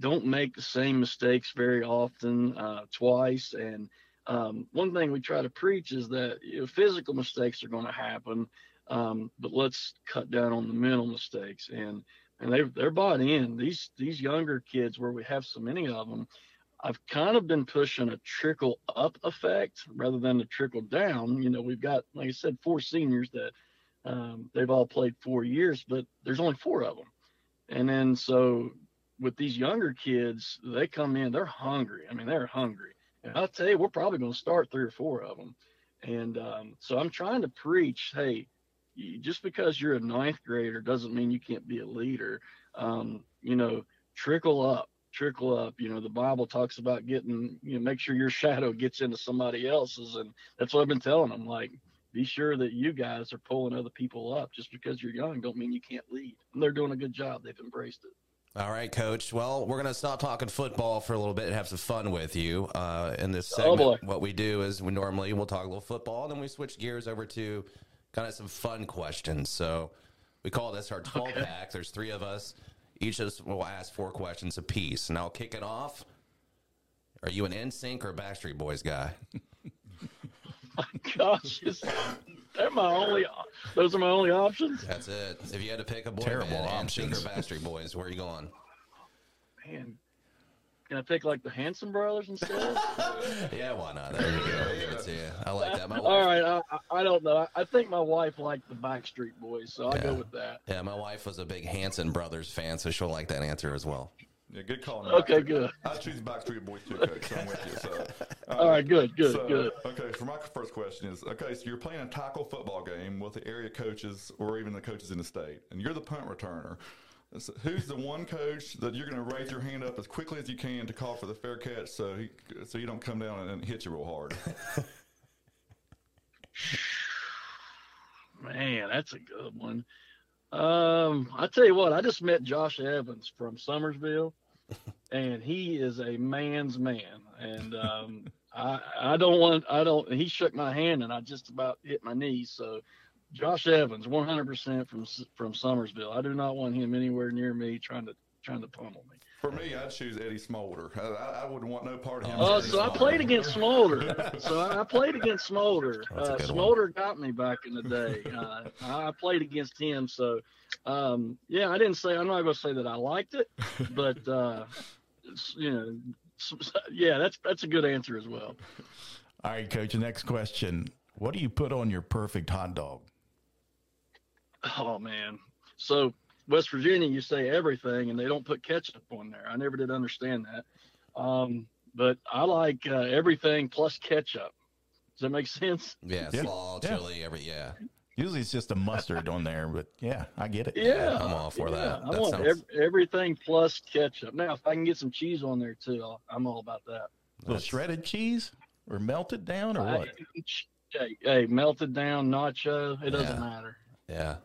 Speaker 5: don't make the same mistakes very often uh, twice. And um, one thing we try to preach is that you know, physical mistakes are going to happen, um, but let's cut down on the mental mistakes. And and they they're bought in. These these younger kids, where we have so many of them, I've kind of been pushing a trickle up effect rather than a trickle down. You know, we've got like I said, four seniors that um, they've all played four years, but there's only four of them. And then so with these younger kids, they come in, they're hungry. I mean, they're hungry. And I'll tell you, we're probably going to start three or four of them. And um, so I'm trying to preach, hey, you, just because you're a ninth grader doesn't mean you can't be a leader. Um, you know, trickle up, trickle up. You know, the Bible talks about getting, you know, make sure your shadow gets into somebody else's. And that's what I've been telling them. Like, be sure that you guys are pulling other people up. Just because you're young, don't mean you can't lead. And they're doing a good job. They've embraced it. *laughs*
Speaker 2: All right, Coach. Well, we're going to stop talking football for a little bit and have some fun with you uh, in this
Speaker 5: Oh,
Speaker 2: segment.
Speaker 5: boy.
Speaker 2: what we do is we normally we'll talk a little football, then we switch gears over to kind of some fun questions. So we call this our twelve pack. There's three of us. Each of us will ask four questions apiece, and I'll kick it off. Are you an NSYNC or a Backstreet Boys guy?
Speaker 5: Gosh, is- they're my only. Those are my only options.
Speaker 2: That's it. If you had to pick a boy,
Speaker 4: Terrible
Speaker 2: band, NSYNC
Speaker 4: options.
Speaker 2: or Backstreet Boys, where are you going? *laughs*
Speaker 5: Man, can I pick like the Hanson Brothers instead?
Speaker 2: Yeah, why not? There you go. I'll give it to you. I like that. My wife
Speaker 5: All right, I, I- I don't know. I, I think my wife liked the Backstreet Boys, so I'll go
Speaker 2: Yeah.
Speaker 5: with that.
Speaker 2: Yeah, my wife was a big Hanson Brothers fan, so she'll like that answer as well.
Speaker 3: Yeah, good calling.
Speaker 5: Okay,
Speaker 3: Backstreet-
Speaker 5: good.
Speaker 3: I choose Backstreet Boys too, Coach. so I'm with
Speaker 5: *laughs*
Speaker 3: you. So,
Speaker 5: All right, good, good,
Speaker 3: so,
Speaker 5: good.
Speaker 3: Okay, for my first question is okay, so you're playing a tackle football game with the area coaches or even the coaches in the state, and you're the punt returner. So who's the one coach that you're going to raise your hand up as quickly as you can to call for the fair catch so he, so you don't come down and hit you real hard?
Speaker 5: Man, that's a good one. Um, I tell you what, I just met Josh Evans from Somersville, and he is a man's man. And um, *laughs* I I don't want I don't. He shook my hand, and I just about hit my knees. So, Josh Evans, 100% from S- from Somersville. I do not want him anywhere near me trying to trying to pummel me.
Speaker 3: For me, I'd choose Eddie Smolder. I, I, I wouldn't want no part of him.
Speaker 5: Oh, so I
Speaker 3: *laughs*
Speaker 5: played against Smolder. So I I played against Smolder.
Speaker 2: That's a
Speaker 5: Uh,
Speaker 2: good one.
Speaker 5: Smolder got me back in the day. Uh, I played against him. So, um, yeah, I didn't say, I'm not going to say that I liked it, but, uh, s- you know, s- yeah, that's that's a good answer as well.
Speaker 4: All right, coach. The next question: What do you put on your perfect hot dog?
Speaker 5: Oh man. So West Virginia, you say everything, and they don't put ketchup on there. I never did understand that. Um, but I like uh, everything plus ketchup. Does that make *laughs* sense?
Speaker 2: Yeah,
Speaker 4: Yeah.
Speaker 2: slaw,
Speaker 4: Yeah.
Speaker 2: chili, every yeah.
Speaker 4: Usually, it's just a mustard on there, but yeah, I get it.
Speaker 5: Yeah.
Speaker 2: I'm all for
Speaker 5: Yeah,
Speaker 2: that.
Speaker 5: I
Speaker 2: that
Speaker 5: want
Speaker 2: sounds,
Speaker 5: ev- everything plus ketchup. Now, if I can get some cheese on there too, I'll, I'm all about that.
Speaker 4: little shredded cheese or melted down or what?
Speaker 5: *laughs* Hey, hey, melted down nacho, it doesn't
Speaker 2: Yeah.
Speaker 5: matter.
Speaker 2: yeah.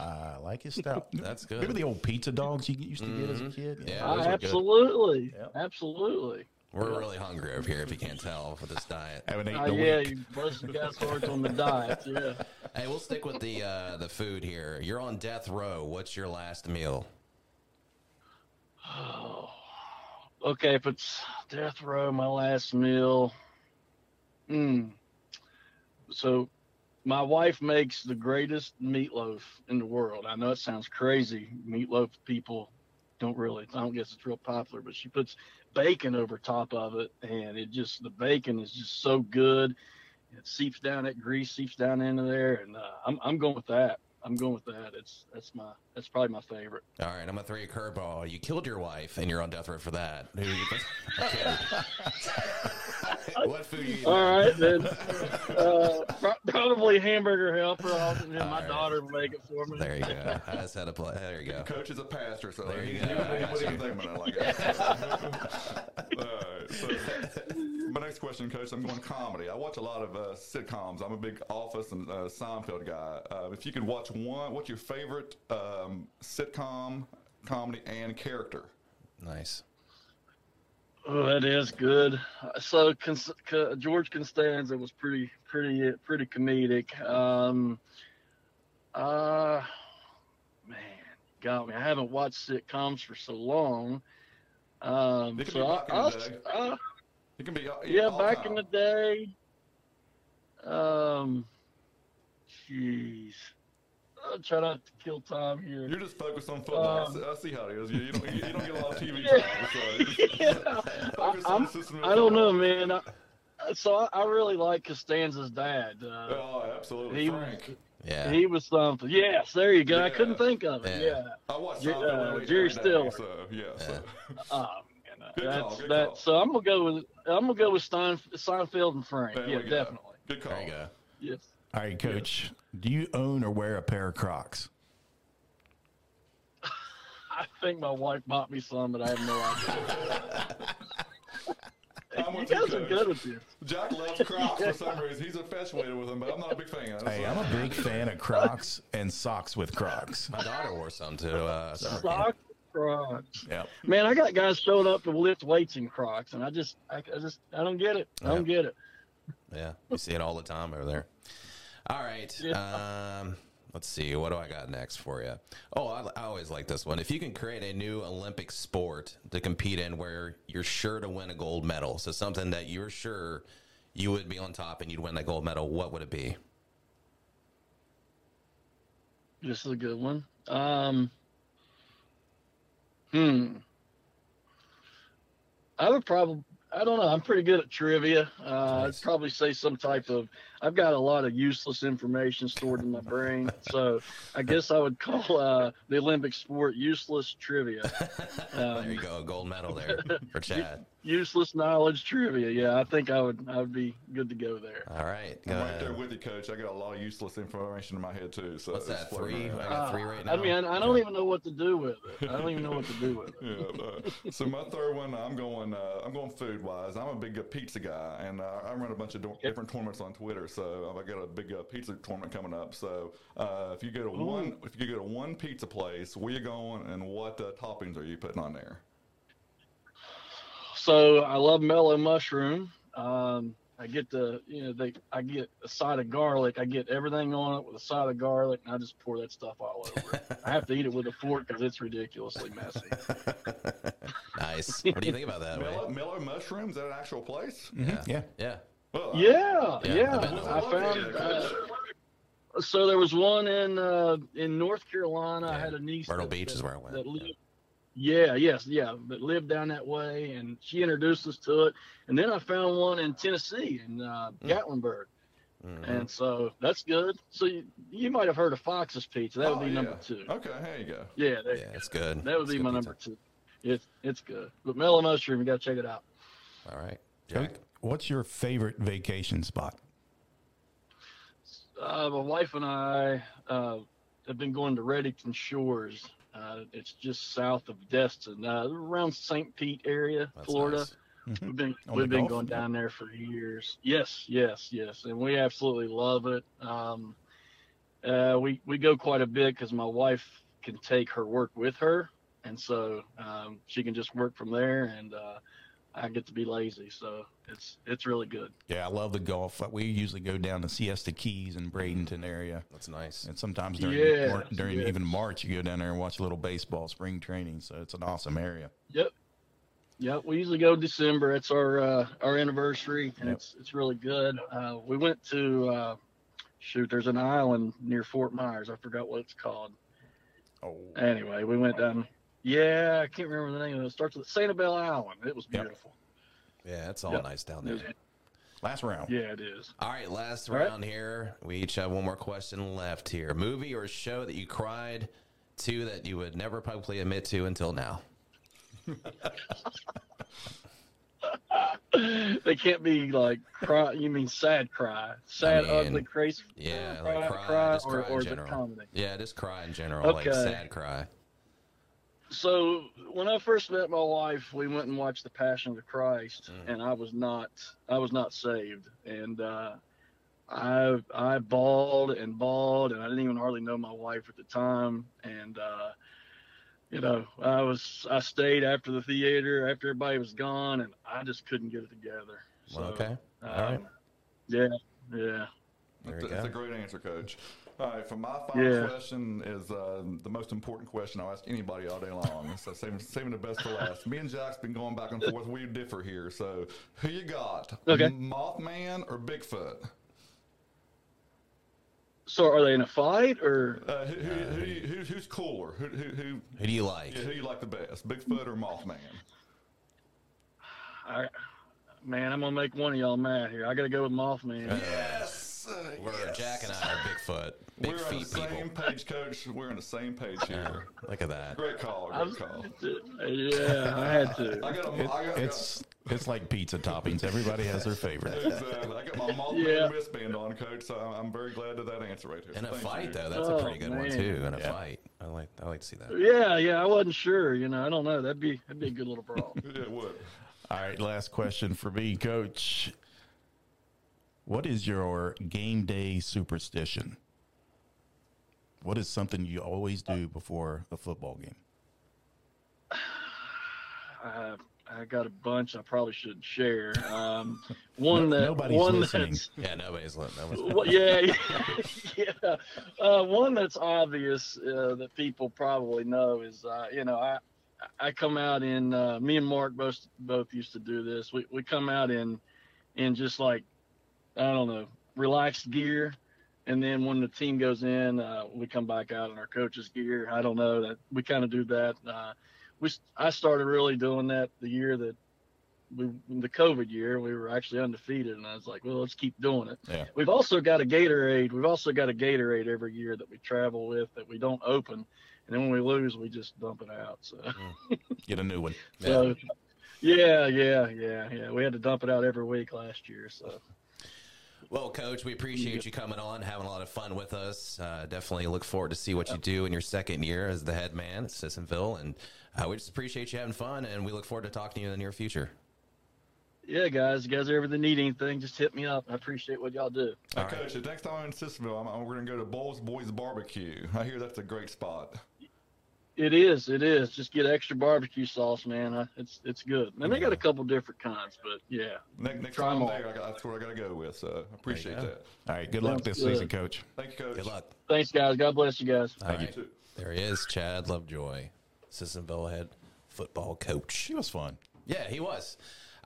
Speaker 4: I like his stuff.
Speaker 2: That's good.
Speaker 4: Remember the old pizza dogs you used to get
Speaker 5: Mm-hmm.
Speaker 4: as a kid?
Speaker 2: Yeah.
Speaker 5: I
Speaker 2: those are good.
Speaker 5: absolutely,
Speaker 4: Yep.
Speaker 5: absolutely.
Speaker 2: We're really hungry over here if you can't tell with this diet.
Speaker 4: Haven't eaten
Speaker 5: Uh,
Speaker 4: a
Speaker 5: yeah,
Speaker 4: week.
Speaker 5: you bust the guy's heart on
Speaker 2: *laughs*
Speaker 5: the diet. Yeah.
Speaker 2: Hey, we'll stick with the uh, the food here. You're on death row. What's your last meal?
Speaker 5: Oh, *sighs* okay. If it's death row, my last meal. Mm. So, my wife makes the greatest meatloaf in the world. I know it sounds crazy. Meatloaf people don't really. I don't guess it's real popular, but she puts bacon over top of it, and it just the bacon is just so good. It seeps down. That grease seeps down into there, and uh, I'm I'm going with that. I'm going with that. It's that's my that's probably my favorite.
Speaker 2: All right, I'm gonna throw you a curveball. You killed your wife, and you're on death row for that. Who you- Okay. what food? You eating?
Speaker 5: All right, then.
Speaker 3: *laughs*
Speaker 5: Uh, pro- probably hamburger helper. I'll, and then
Speaker 2: All
Speaker 5: my
Speaker 2: right.
Speaker 5: daughter will make it for
Speaker 2: *laughs*
Speaker 5: me.
Speaker 2: There you go. I just had a play. There you go.
Speaker 3: Coach is a pastor, so
Speaker 2: There
Speaker 3: he,
Speaker 2: you
Speaker 3: he,
Speaker 2: go.
Speaker 3: wouldn't- he wouldn't even think about it like that. Alright, uh, so my next question, Coach, I'm going comedy. I watch a lot of uh, sitcoms. I'm a big Office and uh, Seinfeld guy. Uh, if you could watch one, what's your favorite um, sitcom, comedy, and character?
Speaker 2: Nice.
Speaker 5: Oh, that is good. So Cons- C- George Costanza was pretty, pretty, pretty comedic. Um, uh, man, got me. I haven't watched sitcoms for so long. Um,
Speaker 3: It could
Speaker 5: so
Speaker 3: be
Speaker 5: I,
Speaker 3: back in
Speaker 5: I,
Speaker 3: the day.
Speaker 5: I,
Speaker 3: It can be all,
Speaker 5: yeah,
Speaker 3: all
Speaker 5: back
Speaker 3: time.
Speaker 5: in the day. Um, jeez, I'll try not to kill time here.
Speaker 3: *laughs* You're just focused on football. I
Speaker 5: Um,
Speaker 3: see- I see how it is. You, you, don't, you don't get a lot of
Speaker 5: *laughs*
Speaker 3: TV
Speaker 5: Yeah.
Speaker 3: time. So you're just
Speaker 5: Yeah.
Speaker 3: focused on
Speaker 5: I'm-
Speaker 3: the system of
Speaker 5: I don't know,
Speaker 3: football.
Speaker 5: man. I, so I, I really like Costanza's dad. Uh,
Speaker 3: Oh, absolutely.
Speaker 5: He-
Speaker 3: Frank.
Speaker 2: Yeah.
Speaker 5: He was something. Yes, there you go. I
Speaker 3: Oh, Yeah.
Speaker 5: couldn't think of it.
Speaker 2: Yeah.
Speaker 5: Yeah.
Speaker 3: I watched
Speaker 5: Jer-
Speaker 3: Seinfeld
Speaker 5: uh,
Speaker 3: earlier
Speaker 5: Jerry
Speaker 3: today,
Speaker 5: Stiller.
Speaker 3: So, yeah. So.
Speaker 5: Oh, man, uh,
Speaker 3: Good
Speaker 5: that's
Speaker 3: call, good
Speaker 5: that.
Speaker 3: call.
Speaker 5: So I'm gonna go with I'm gonna go with Stein, Seinfeld and Frank.
Speaker 3: There
Speaker 5: yeah,
Speaker 3: we go.
Speaker 5: definitely.
Speaker 3: Good call.
Speaker 2: There you go.
Speaker 5: Yes.
Speaker 4: All right, coach. Do you own or wear a pair of Crocs?
Speaker 5: I think my wife bought me some, but I have no idea.
Speaker 3: *laughs* I'm
Speaker 5: you
Speaker 3: with you,
Speaker 5: guys are
Speaker 3: Coach.
Speaker 5: good with this.
Speaker 3: Jack loves Crocs for some reason. He's infatuated with them, but I'm not a big fan.
Speaker 4: Hey, I'm a big fan of Crocs and socks with Crocs.
Speaker 2: My daughter wore some too. Uh, summer camp.
Speaker 5: Sock Crocs.
Speaker 4: Yep.
Speaker 5: Man, I got guys showing up to lift weights in Crocs, and I just, I, I just, I don't get it. I don't get it.
Speaker 2: Yeah, you see it all the time over there. All right. Um, let's see. What do I got next for you? Oh, I, I always like this one. If you can create a new Olympic sport to compete in where you're sure to win a gold medal, so something that you're sure you would be on top and you'd win that gold medal, what would it be?
Speaker 5: This is a good one. Um, hmm. I would probably, I don't know. I'm pretty good at trivia. Uh,
Speaker 2: Nice.
Speaker 5: I'd probably say some type of, I've got a lot of useless information stored in my brain. so I guess I would call uh, the Olympic sport useless trivia. Um, Uh,
Speaker 2: there you go, gold medal
Speaker 5: *laughs*
Speaker 2: there for Chad.
Speaker 5: Useless knowledge trivia. Yeah, I think I would, I would be good to go there.
Speaker 2: All right.
Speaker 3: I'm right there
Speaker 2: uh,
Speaker 3: with you, Coach. I got a lot of useless information in my head too. So
Speaker 2: what's
Speaker 3: it's
Speaker 2: that?
Speaker 3: floating
Speaker 2: Three? I
Speaker 3: around.
Speaker 2: got three right now.
Speaker 5: Uh, I mean, I, I don't even know what to do with it. I don't even know what to do with it.
Speaker 2: *laughs*
Speaker 3: Yeah, uh, so my third one, I'm going. Uh, I'm going food wise. I'm a big uh, pizza guy, and uh, I run a bunch of do- different tournaments on Twitter. So I got a big uh, pizza tournament coming up. So uh, if you go to one, if you go to one pizza place, where you going, and what uh, toppings are you putting on there?
Speaker 5: So I love mellow mushroom. Um, I get the you know they I get a side of garlic. I get everything on it with a side of garlic, and I just pour that stuff all over. it. I have to eat it with a fork because it's
Speaker 2: *laughs*
Speaker 5: ridiculously messy. *laughs*
Speaker 2: nice. What do you think about that? Wade?
Speaker 3: Mellow, Mellow Mushrooms at an actual place?
Speaker 2: Yeah.
Speaker 4: Mm-hmm. Yeah.
Speaker 2: Yeah.
Speaker 3: Well, I-
Speaker 5: Yeah,
Speaker 2: Yeah,
Speaker 5: yeah.
Speaker 2: I bet
Speaker 5: I
Speaker 3: love
Speaker 5: found.
Speaker 3: it.
Speaker 5: Uh, so there was one in uh, in North Carolina. I
Speaker 2: Yeah,
Speaker 5: had a niece.
Speaker 2: Myrtle
Speaker 5: that-
Speaker 2: Beach
Speaker 5: that-
Speaker 2: is where I went.
Speaker 5: that
Speaker 2: Yeah.
Speaker 5: lived- yeah, yes, yeah, but lived down that way, and she introduced us to it. And then I found one in Tennessee in uh,
Speaker 2: Mm.
Speaker 5: Gatlinburg,
Speaker 2: Mhm.
Speaker 5: and so that's good. So you, you might have heard of Fox's Pizza. That would
Speaker 3: oh,
Speaker 5: be
Speaker 3: yeah.
Speaker 5: number two.
Speaker 3: Okay, there you go.
Speaker 5: Yeah, that,
Speaker 2: Yeah, it's good.
Speaker 5: that would
Speaker 2: It's
Speaker 5: be
Speaker 2: good
Speaker 5: my
Speaker 2: pizza.
Speaker 5: number two. It's it's good, but mellow mushroom, you gotta check it out.
Speaker 2: All right.
Speaker 4: Coach,
Speaker 2: Jack.
Speaker 4: What's your favorite vacation spot?
Speaker 5: Uh, my wife and I uh, have been going to Reddington Shores. Uh, it's just south of Destin, uh, around St. Pete area,
Speaker 2: That's
Speaker 5: Florida.
Speaker 2: nice.
Speaker 5: We've been
Speaker 4: Hmm. On the
Speaker 5: we've been
Speaker 4: golf,
Speaker 5: going
Speaker 4: yeah.
Speaker 5: down there for years. Yes, yes, yes, and we absolutely love it. Um, uh, we we go quite a bit because my wife can take her work with her, and so um, she can just work from there, and uh, I get to be lazy. So it's it's really good.
Speaker 4: Yeah, I love the golf. We usually go down to Siesta Keys and Bradenton area,
Speaker 2: That's nice.
Speaker 4: and sometimes during
Speaker 5: Yeah,
Speaker 4: Mar- during
Speaker 5: yeah.
Speaker 4: even March, you go down there and watch a little baseball, spring training. So it's an awesome area.
Speaker 5: Yep. Yep, we usually go December. It's our uh, our anniversary, and
Speaker 4: Yep.
Speaker 5: it's it's really good. Uh, we went to uh, shoot. There's an island near Fort Myers. I forgot what it's called.
Speaker 4: Oh,
Speaker 5: Anyway, we went down. Yeah, I can't remember the name of it. It starts with Sanibel Island. It was
Speaker 4: Yep.
Speaker 5: beautiful.
Speaker 2: Yeah, it's all
Speaker 5: Yep.
Speaker 2: nice down there.
Speaker 4: last round.
Speaker 5: Yeah, it is. *laughs*
Speaker 2: All right, last
Speaker 5: right.
Speaker 2: round here. We each have one more question left here. Movie or show that you cried to that you would never publicly admit to until now?
Speaker 5: they can't be like cry. You mean sad cry? Sad,
Speaker 2: mean,
Speaker 5: ugly, crazy.
Speaker 2: Yeah,
Speaker 5: cry,
Speaker 2: like cry,
Speaker 5: cry,
Speaker 2: just
Speaker 5: or,
Speaker 2: cry in
Speaker 5: or the
Speaker 2: general.
Speaker 5: comedy.
Speaker 2: Yeah, just cry in general, like
Speaker 5: Okay.
Speaker 2: sad cry.
Speaker 5: So when I first met my wife, we went and watched The Passion of the Christ,
Speaker 2: Mm.
Speaker 5: and I was not, I was not saved, and uh, I, I bawled and bawled, and I didn't even hardly know my wife at the time, and uh, you know, I was I stayed after the theater after everybody was gone, and I just couldn't get it together. So,
Speaker 2: Well, okay.
Speaker 5: um,
Speaker 2: All right.
Speaker 5: Yeah, yeah.
Speaker 2: There
Speaker 3: That's
Speaker 2: you
Speaker 3: a, that's a
Speaker 2: go.
Speaker 3: great answer, Coach. All right, for my final
Speaker 5: Yeah.
Speaker 3: question is uh, the most important question I'll ask anybody all day long. so saving, saving the best for last. Me and Jack's been going back and forth. We differ here. So who you got?
Speaker 5: Okay.
Speaker 3: Mothman or Bigfoot?
Speaker 5: So are they in a fight or?
Speaker 3: Uh, who, who, who, you- who, who's cooler? Who, who, who,
Speaker 2: Who do you like?
Speaker 3: yeah, who you like the best? Bigfoot or Mothman?
Speaker 5: I, man, I'm gonna make one of y'all mad here. I gotta go with Mothman.
Speaker 3: Yes. uh,
Speaker 2: We're
Speaker 3: yes.
Speaker 2: Jack and I are Bigfoot, big
Speaker 3: We're on the
Speaker 2: feet
Speaker 3: same
Speaker 2: people.
Speaker 3: page, Coach. We're on the same page here.
Speaker 2: Look at that.
Speaker 3: Great call.
Speaker 5: I
Speaker 3: Great
Speaker 5: was-
Speaker 3: call.
Speaker 5: *laughs* yeah, I had
Speaker 3: I
Speaker 5: to.
Speaker 3: got a. I
Speaker 4: It-
Speaker 3: got, I got-
Speaker 4: it's it's like pizza toppings. Everybody has their favorite.
Speaker 3: Exactly. uh, I got my Mothman
Speaker 5: *laughs* Yeah.
Speaker 3: wristband on, Coach, so I'm, I'm very glad of that answer right here.
Speaker 2: In a
Speaker 3: Thank
Speaker 2: fight,
Speaker 3: you.
Speaker 2: though, that's a
Speaker 5: Oh,
Speaker 2: pretty good one
Speaker 5: man.
Speaker 2: too. In a fight, I like I like to see that.
Speaker 5: Yeah, yeah. I wasn't sure. You know, I don't know. That'd be that'd be a good little
Speaker 4: *laughs*
Speaker 5: brawl.
Speaker 3: Yeah, it would.
Speaker 4: All right, last question for me, Coach. What is your game day superstition? What is something you always do before a football game?
Speaker 5: I, I got a bunch. I probably shouldn't share. Um, one
Speaker 4: No-
Speaker 5: that
Speaker 4: nobody's
Speaker 5: one
Speaker 4: listening.
Speaker 5: that's
Speaker 2: Yeah, nobody's looking. Nobody's
Speaker 5: well, yeah, *laughs* yeah. Uh, one that's obvious uh, that people probably know is, uh, you know, I I come out in uh, me and Mark both both used to do this. We we come out in in just like I don't know relaxed gear, and then when the team goes in, uh, we come back out in our coach's gear. I don't know that we kind of do that. Uh, we s- I started really doing that the year that. We, the COVID year, we were actually undefeated, and I was like, "Well, let's keep doing it." We've also got a Gatorade. We've also got a Gatorade every year that we travel with that we don't open, and then when we lose, we just dump it out. So,
Speaker 4: Get a new one.
Speaker 2: Yeah.
Speaker 5: so yeah, yeah, yeah, yeah. We had to dump it out every week last year. So,
Speaker 2: Well, Coach, we appreciate you coming on, having a lot of fun with us. Uh, definitely look forward to see what you do in your second year as the head man at Sissonville, and uh, we just appreciate you having fun, and we look forward to talking to you in the near future.
Speaker 5: yeah, guys, you guys ever need anything? Just hit me up. I appreciate what y'all do.
Speaker 3: Hey,
Speaker 2: All right.
Speaker 3: Coach, the next time I'm in Sissonville, I'm, I'm- we're going to go to Bulls Boys Barbecue. I hear that's a great spot.
Speaker 5: It is, it is. Just get extra barbecue sauce, man. I, it's it's good. And they got a couple different kinds, but yeah,
Speaker 3: Next, next
Speaker 5: Try 'em
Speaker 3: time I'm
Speaker 5: all.
Speaker 3: there, I got, that's what I got to go with. So I appreciate that.
Speaker 4: All right, good luck this
Speaker 5: Sounds good.
Speaker 4: season, Coach.
Speaker 3: Thank you, Coach.
Speaker 2: Good luck.
Speaker 5: thanks, guys. God bless you guys.
Speaker 2: All right.
Speaker 3: too.
Speaker 2: There he is, Chad Lovejoy, Sissonville head football coach.
Speaker 4: She was fun.
Speaker 2: Yeah, he was.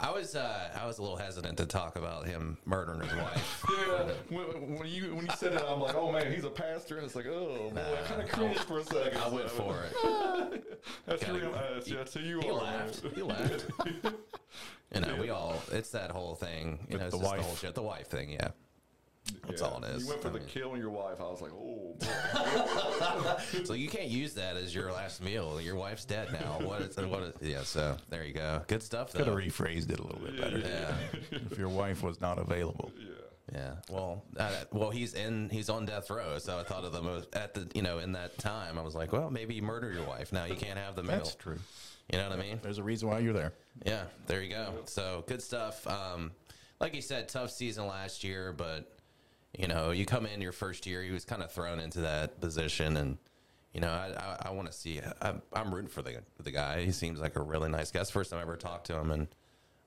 Speaker 2: I was uh, I was a little hesitant to talk about him murdering his wife.
Speaker 3: Yeah, when, when you when you said that, I'm like, oh man, he's a pastor. I was like, oh boy, I kind of cringed for a second.
Speaker 2: I went for it.
Speaker 3: *laughs* That's who,
Speaker 2: Gotta-
Speaker 3: you- uh, that's who you
Speaker 2: He
Speaker 3: are.
Speaker 2: laughed.
Speaker 3: man.
Speaker 2: He
Speaker 3: *laughs*
Speaker 2: laughed. you know, we all, it's that whole thing. You know, it's
Speaker 4: the
Speaker 2: the just the
Speaker 4: wife.
Speaker 2: whole shit. The wife thing, yeah. That's
Speaker 3: Yeah.
Speaker 2: all it is.
Speaker 3: You went for
Speaker 2: I
Speaker 3: the
Speaker 2: mean,
Speaker 3: kill and your wife. I was like, oh boy.
Speaker 2: so you can't use that as your last meal. Your wife's dead now. What is what is yeah, so there you go. Good stuff
Speaker 4: Could have
Speaker 2: though.
Speaker 4: rephrased it a little bit better.
Speaker 2: yeah.
Speaker 4: If your wife was not available.
Speaker 3: yeah.
Speaker 2: Yeah. Well, uh, well, he's in. He's on death row. So I thought of the most at the you know in that time I was like, well, maybe you murder your wife. Now you can't have the meal.
Speaker 4: That's true.
Speaker 2: You know what I mean?
Speaker 4: There's a reason why you're there.
Speaker 2: Yeah. There you go. So good stuff. Um, like you said, tough season last year, but you know, you come in your first year, he was kind of thrown into that position, and you know, I I, I want to see. I'm, I'm rooting for the the guy. He seems like a really nice guy. It's the first time I ever talked to him, and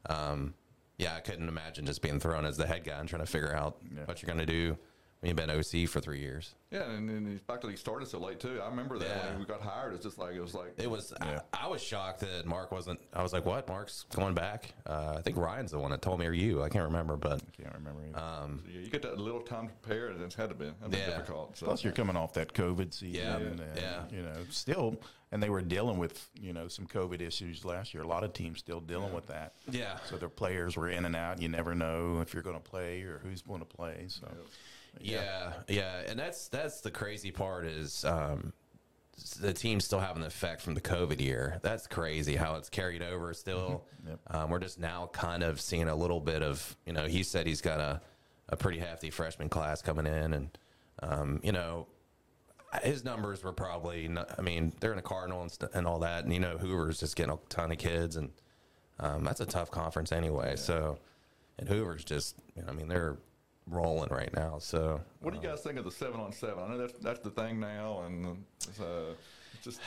Speaker 2: um, yeah, I couldn't imagine just being thrown as the head guy and trying to figure out what you're gonna do when you've been OC for three years.
Speaker 3: Yeah, and, and the fact that he started so late too. I remember that
Speaker 2: Yeah.
Speaker 3: when we got hired, it's just like it was like
Speaker 2: It was I, I was shocked that Mark wasn't. I was like, what? Mark's going back? Uh, I think Ryan's the one that told me, or you? I can't remember, but
Speaker 4: Can't remember. either.
Speaker 3: yeah, you get that little time to prepare, and it's had to be, had to
Speaker 2: Yeah.
Speaker 3: be difficult. So.
Speaker 4: Plus, you're coming off that COVID season.
Speaker 2: Yeah,
Speaker 4: and, uh,
Speaker 2: yeah.
Speaker 4: You know, still, and they were dealing with, you know, some COVID issues last year. A lot of teams still dealing with that.
Speaker 2: yeah.
Speaker 4: So their players were in and out. You never know if you're going to play or who's going to play. So
Speaker 2: Yeah, yeah, and that's that's the crazy part is um, s- the team still having the effect from the COVID year. That's crazy how it's carried over. Still, um, we're just now kind of seeing a little bit of you know. He said he's got a a pretty hefty freshman class coming in, and um, you know. His numbers were probably, not, I mean, they're in a Cardinal and, st- and all that. And, you know, Hoover's just getting a ton of kids. And um, that's a tough conference anyway. So, and Hoover's just, you know, I mean, they're rolling right now. So,
Speaker 3: what do you guys think of the seven on seven? I know that's that's the thing now, and uh, Just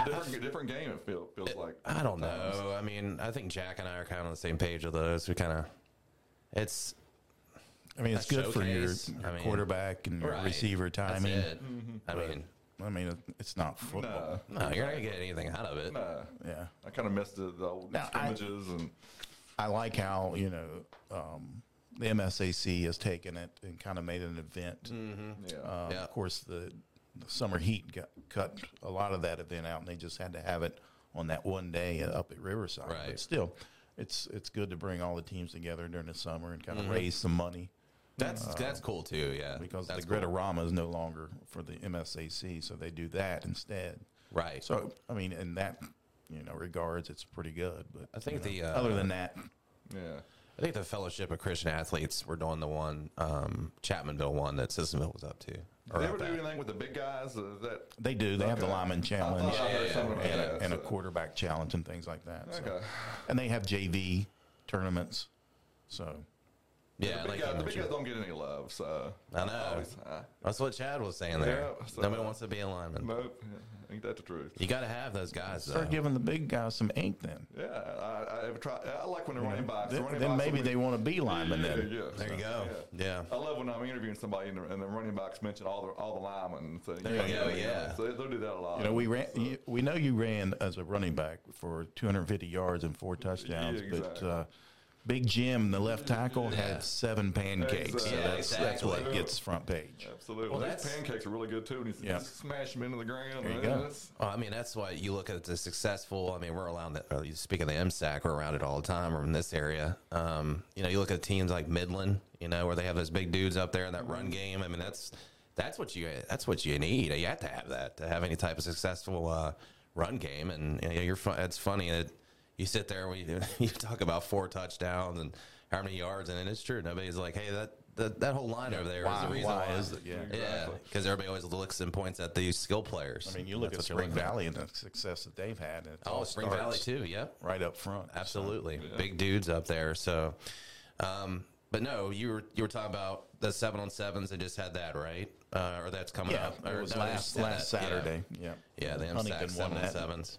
Speaker 3: a different, a
Speaker 2: *sighs*
Speaker 3: different game. It feel, feels like.
Speaker 2: I don't know. I mean, I think Jack and I are kind of on the same page with those. We kind of, it's
Speaker 4: I mean, it's
Speaker 2: A
Speaker 4: good for your,
Speaker 2: showcase,
Speaker 4: your
Speaker 2: I mean,
Speaker 4: quarterback and your
Speaker 2: right.
Speaker 4: receiver
Speaker 2: That's
Speaker 4: timing.
Speaker 2: it.
Speaker 3: mm-hmm.
Speaker 2: I mean,
Speaker 4: I mean, it's not football.
Speaker 2: no, you're not gonna get anything out of it.
Speaker 3: Uh,
Speaker 4: Yeah,
Speaker 3: I kind of missed the, the old
Speaker 4: Now, I-
Speaker 3: scrimmages and
Speaker 4: I like how you know um, the MSAC has taken it and kind of made it an event.
Speaker 3: yeah.
Speaker 4: Um,
Speaker 2: Mm, Yeah.
Speaker 4: Of course, the, the summer heat got, cut a lot of that event out, and they just had to have it on that one day up at Riverside.
Speaker 2: Right.
Speaker 4: But still, it's it's good to bring all the teams together during the summer and kind
Speaker 2: Mm-hmm.
Speaker 4: of raise some money
Speaker 2: That's that's cool too. Yeah,
Speaker 4: because
Speaker 2: that's
Speaker 4: the Greta
Speaker 2: cool.
Speaker 4: Rama is no longer for the MSAC, so they do that instead.
Speaker 2: right. So
Speaker 4: So I mean, in that you know regards, it's pretty good. But
Speaker 2: I think
Speaker 4: you know,
Speaker 2: the, uh,
Speaker 4: other than that,
Speaker 3: yeah.
Speaker 2: I think the Fellowship of Christian Athletes were doing the one um, Chapmanville one that Sissonville was up to.
Speaker 3: Do
Speaker 2: Or
Speaker 3: they
Speaker 2: up
Speaker 3: ever do
Speaker 2: at.
Speaker 3: anything with the big guys? Uh, that
Speaker 4: they do. They have the
Speaker 3: Okay.
Speaker 4: lineman
Speaker 3: I
Speaker 4: challenge
Speaker 3: thought I heard
Speaker 2: yeah,
Speaker 3: something about
Speaker 4: and,
Speaker 3: that,
Speaker 4: a, and a
Speaker 3: so-
Speaker 4: quarterback challenge and things like that. So.
Speaker 3: Okay.
Speaker 4: And they have JV tournaments. So
Speaker 2: yeah,
Speaker 3: the
Speaker 2: like
Speaker 3: big, guys,
Speaker 2: in
Speaker 3: the
Speaker 2: the
Speaker 3: big
Speaker 2: gym.
Speaker 3: guys don't get any love, so
Speaker 2: I know.
Speaker 3: Always, uh,
Speaker 2: that's what Chad was saying there.
Speaker 3: Yeah, so-
Speaker 2: Nobody wants to be a lineman.
Speaker 3: nope, yeah, ain't that the truth?
Speaker 2: You got to have those guys though.
Speaker 4: start giving the big guys some ink then.
Speaker 3: Yeah, I, I, I've tried. I like when they're running backs.
Speaker 4: Then,
Speaker 3: running
Speaker 4: then
Speaker 3: backs
Speaker 4: maybe
Speaker 3: will
Speaker 4: they
Speaker 3: be-
Speaker 4: want to be linemen
Speaker 3: Yeah,
Speaker 4: then.
Speaker 3: yeah,
Speaker 2: there you
Speaker 3: so,
Speaker 2: go. Yeah.
Speaker 3: I love when I'm interviewing somebody and the, and the running backs mention all the all the linemen. So there
Speaker 2: you go, yeah.
Speaker 3: So they'll do that a lot.
Speaker 4: You know, we ran. You, we know you ran as a running back for 250 yards and four touchdowns,
Speaker 3: Yeah,
Speaker 4: but
Speaker 3: exactly.
Speaker 4: uh, Big Jim, the left tackle, had seven pancakes. So
Speaker 3: Exactly.
Speaker 4: that's that's what
Speaker 2: Exactly.
Speaker 4: gets front page.
Speaker 3: Absolutely.
Speaker 2: Well,
Speaker 3: Those
Speaker 2: that's-
Speaker 3: pancakes are really good too, and he's
Speaker 4: Yeah.
Speaker 3: just smash them into the ground.
Speaker 4: There you
Speaker 3: and
Speaker 4: go.
Speaker 3: that's-
Speaker 2: Well, I mean, that's why you look at the successful. I mean, we're around that. or you- Speaking of the MSAC, we're around it all the time. We're in this area. Um, you know, you look at teams like Midland. You know, where they have those big dudes up there in that
Speaker 4: Mm-hmm.
Speaker 2: run game. I mean, that's that's what you that's what you need. You have to have that to have any type of successful uh, run game. And you know, you're fun, it's funny that you sit there when you, *laughs* you talk about four touchdowns and how many yards, and it's true. Nobody's like, hey, that that, that whole line over there is
Speaker 4: Why-
Speaker 2: the reason
Speaker 4: why
Speaker 2: why.
Speaker 4: is it? Yeah.
Speaker 2: Yeah, because everybody always looks and points at the skill players.
Speaker 4: I mean, you look
Speaker 2: That's
Speaker 4: at
Speaker 2: what
Speaker 4: Spring
Speaker 2: they're looking
Speaker 4: Valley and the success that they've had. And it
Speaker 2: Oh,
Speaker 4: all
Speaker 2: Spring
Speaker 4: starts
Speaker 2: Valley too. Yep,
Speaker 4: right up front.
Speaker 2: absolutely. Big dudes up there. So, um, but no, you were you were talking about the seven on sevens. They just had that right, uh, or that's coming
Speaker 4: Yeah,
Speaker 2: up.
Speaker 4: it
Speaker 2: Or
Speaker 4: was
Speaker 2: no, they
Speaker 4: last
Speaker 2: just had
Speaker 4: last
Speaker 2: that. Yeah.
Speaker 4: Saturday. Yeah,
Speaker 2: Yeah, the
Speaker 4: Huntington
Speaker 2: MSAC
Speaker 4: won
Speaker 2: seven on
Speaker 4: that.
Speaker 2: sevens.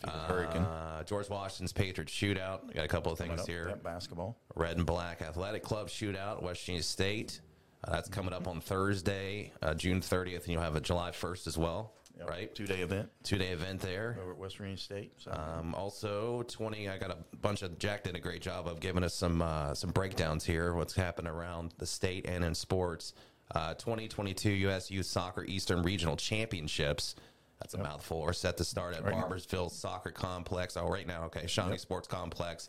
Speaker 4: Defeated Hurricane.
Speaker 2: Uh, George Washington's Patriot shootout. We got a couple of things
Speaker 4: Up,
Speaker 2: here.
Speaker 4: that basketball.
Speaker 2: Red and Black Athletic Club shootout, West Virginia State. Uh, that's coming up on Thursday, uh, June 30th, and you'll have a July 1st as well,
Speaker 4: Yep.
Speaker 2: right?
Speaker 4: Two day event
Speaker 2: Two day event there.
Speaker 4: over at West Virginia State. So
Speaker 2: Um, also, twenty. I got a bunch of Jack did a great job of giving us some uh, some breakdowns here. What's happened around the state and in sports. Uh, 2022 U.S. Youth Soccer Eastern Regional Championships. That's a mouthful. Are set to start at Barbersville Soccer Complex. Oh, right now, okay, Shawnee Sports Complex.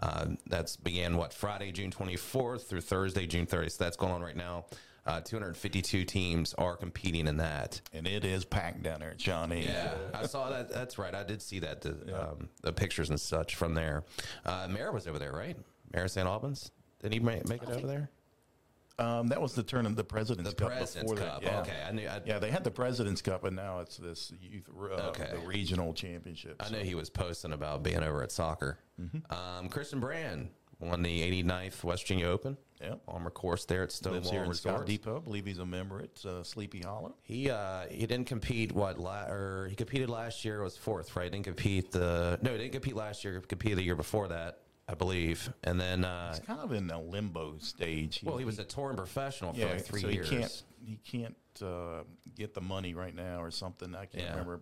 Speaker 2: Uh, that's began what Friday, June 24th through Thursday, June 30th. So that's going on right now. Uh, 252 teams are competing in that.
Speaker 4: and it is packed down there at Shawnee.
Speaker 2: Yeah, I saw that. That's right. I did see that the, um, the pictures and such from there. Uh, Mara was over there, right? Mara St. Albans. Did he make, make it over there?
Speaker 4: Um, that was the turn of the President's
Speaker 2: The
Speaker 4: Cup
Speaker 2: President's
Speaker 4: before that.
Speaker 2: Cup.
Speaker 4: Yeah.
Speaker 2: Okay, I knew. I,
Speaker 4: Yeah, they had the President's Cup, and now it's this youth uh,
Speaker 2: Okay.
Speaker 4: the regional championship.
Speaker 2: I know he was posting about being over at soccer.
Speaker 4: Mm-hmm.
Speaker 2: Um, Kristen Brand won the 89th West Virginia Open.
Speaker 4: Yep.
Speaker 2: Armor course there at
Speaker 4: Lives
Speaker 2: Stonewall
Speaker 4: here in Scott
Speaker 2: Resort.
Speaker 4: Depot. I believe he's a member at uh, Sleepy Hollow.
Speaker 2: He uh, he didn't compete what la- or he competed last year was fourth right didn't compete the no he didn't compete last year competed the year before that I believe and then uh,
Speaker 4: It's kind of in a limbo stage.
Speaker 2: Well, he was a touring professional for
Speaker 4: yeah,
Speaker 2: like three
Speaker 4: so
Speaker 2: years.
Speaker 4: he can't he can't uh, get the money right now or something. I can't
Speaker 2: Yeah.
Speaker 4: remember.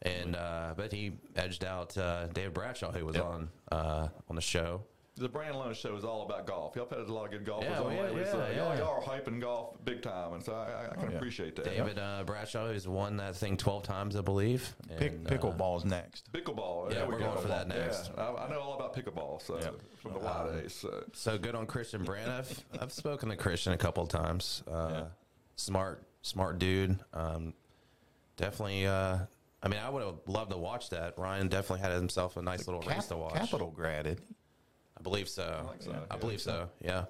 Speaker 2: And uh, but he edged out uh, David Bradshaw, who was on uh, on the show.
Speaker 3: The Brand Loan Show is all about golf. Y'all had a lot of good golfers
Speaker 2: Yeah,
Speaker 3: on
Speaker 2: yeah,
Speaker 3: lately, so
Speaker 2: yeah,
Speaker 3: y'all,
Speaker 2: yeah.
Speaker 3: y'all are hyping golf big time, and so I, I, I can appreciate that.
Speaker 2: David uh, Bradshaw has won that thing twelve times, I believe.
Speaker 4: Pick,
Speaker 2: And, uh,
Speaker 4: pickleball's next.
Speaker 3: Pickleball.
Speaker 2: Yeah,
Speaker 3: there we
Speaker 2: we're
Speaker 3: go.
Speaker 2: going for that next.
Speaker 3: Yeah, I, I know all about pickleball, so from the wild
Speaker 4: Um,
Speaker 3: days. So.
Speaker 2: so good on Christian Brand. I've I've spoken to Christian a couple of times. Uh, Smart, smart dude. Um, definitely. Uh, I mean, I would have loved to watch that. Ryan definitely had himself a nice little race
Speaker 4: Cap-
Speaker 2: to watch.
Speaker 4: Capital graded.
Speaker 2: I believe so. I,
Speaker 3: think so.
Speaker 2: believe so. Yeah.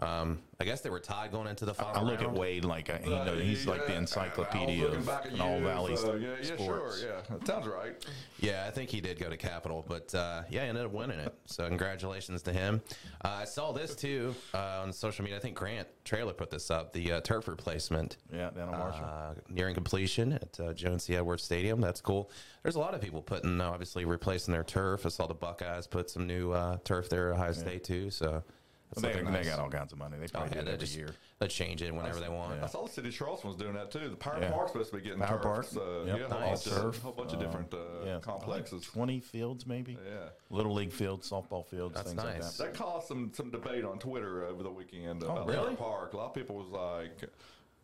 Speaker 2: Um, I guess they were tied going into the final
Speaker 4: I look at
Speaker 2: round.
Speaker 4: Wade like I, you know, he's like the
Speaker 3: Yeah,
Speaker 4: encyclopedia
Speaker 3: uh, I was looking
Speaker 4: of
Speaker 3: back at
Speaker 4: all
Speaker 3: you,
Speaker 4: valleys
Speaker 3: so, yeah, yeah,
Speaker 4: sports.
Speaker 3: sure, yeah. That sounds right.
Speaker 2: Yeah, I think he did go to Capital, but uh, yeah, he ended up winning it. So congratulations to him. Uh, I saw this too uh, on social media. I think Grant Trailer put this up. The uh, turf replacement
Speaker 4: yeah. down on Marshall.
Speaker 2: uh, nearing completion at uh, Jones C. Edwards Stadium. That's cool. There's a lot of people putting, uh, obviously, replacing their turf. I saw the Buckeyes put some new uh, turf there at Ohio State too. So that's
Speaker 4: they,
Speaker 2: looking
Speaker 4: they
Speaker 2: nice.
Speaker 4: got all kinds of money. They
Speaker 2: Oh,
Speaker 4: probably
Speaker 2: yeah,
Speaker 4: do it
Speaker 2: they
Speaker 4: every
Speaker 2: just
Speaker 4: year.
Speaker 2: they change it whenever they want.
Speaker 3: I saw the city of Charleston was doing that too. The Power
Speaker 4: Yeah.
Speaker 3: Park's supposed to be getting
Speaker 4: Power
Speaker 3: turfed,
Speaker 4: Park.
Speaker 3: so,
Speaker 4: Yep.
Speaker 3: yeah, a whole
Speaker 2: Nice.
Speaker 3: bunch of-
Speaker 4: Turf.
Speaker 3: whole bunch of different uh,
Speaker 4: Yeah,
Speaker 3: complexes.
Speaker 4: Like Twenty fields, maybe.
Speaker 3: Yeah.
Speaker 4: Little league fields, softball fields,
Speaker 2: That's
Speaker 4: things
Speaker 2: nice.
Speaker 4: like
Speaker 3: That caused some some debate on Twitter over the weekend about
Speaker 2: Oh, really?
Speaker 3: Leonard Park. A lot of people was like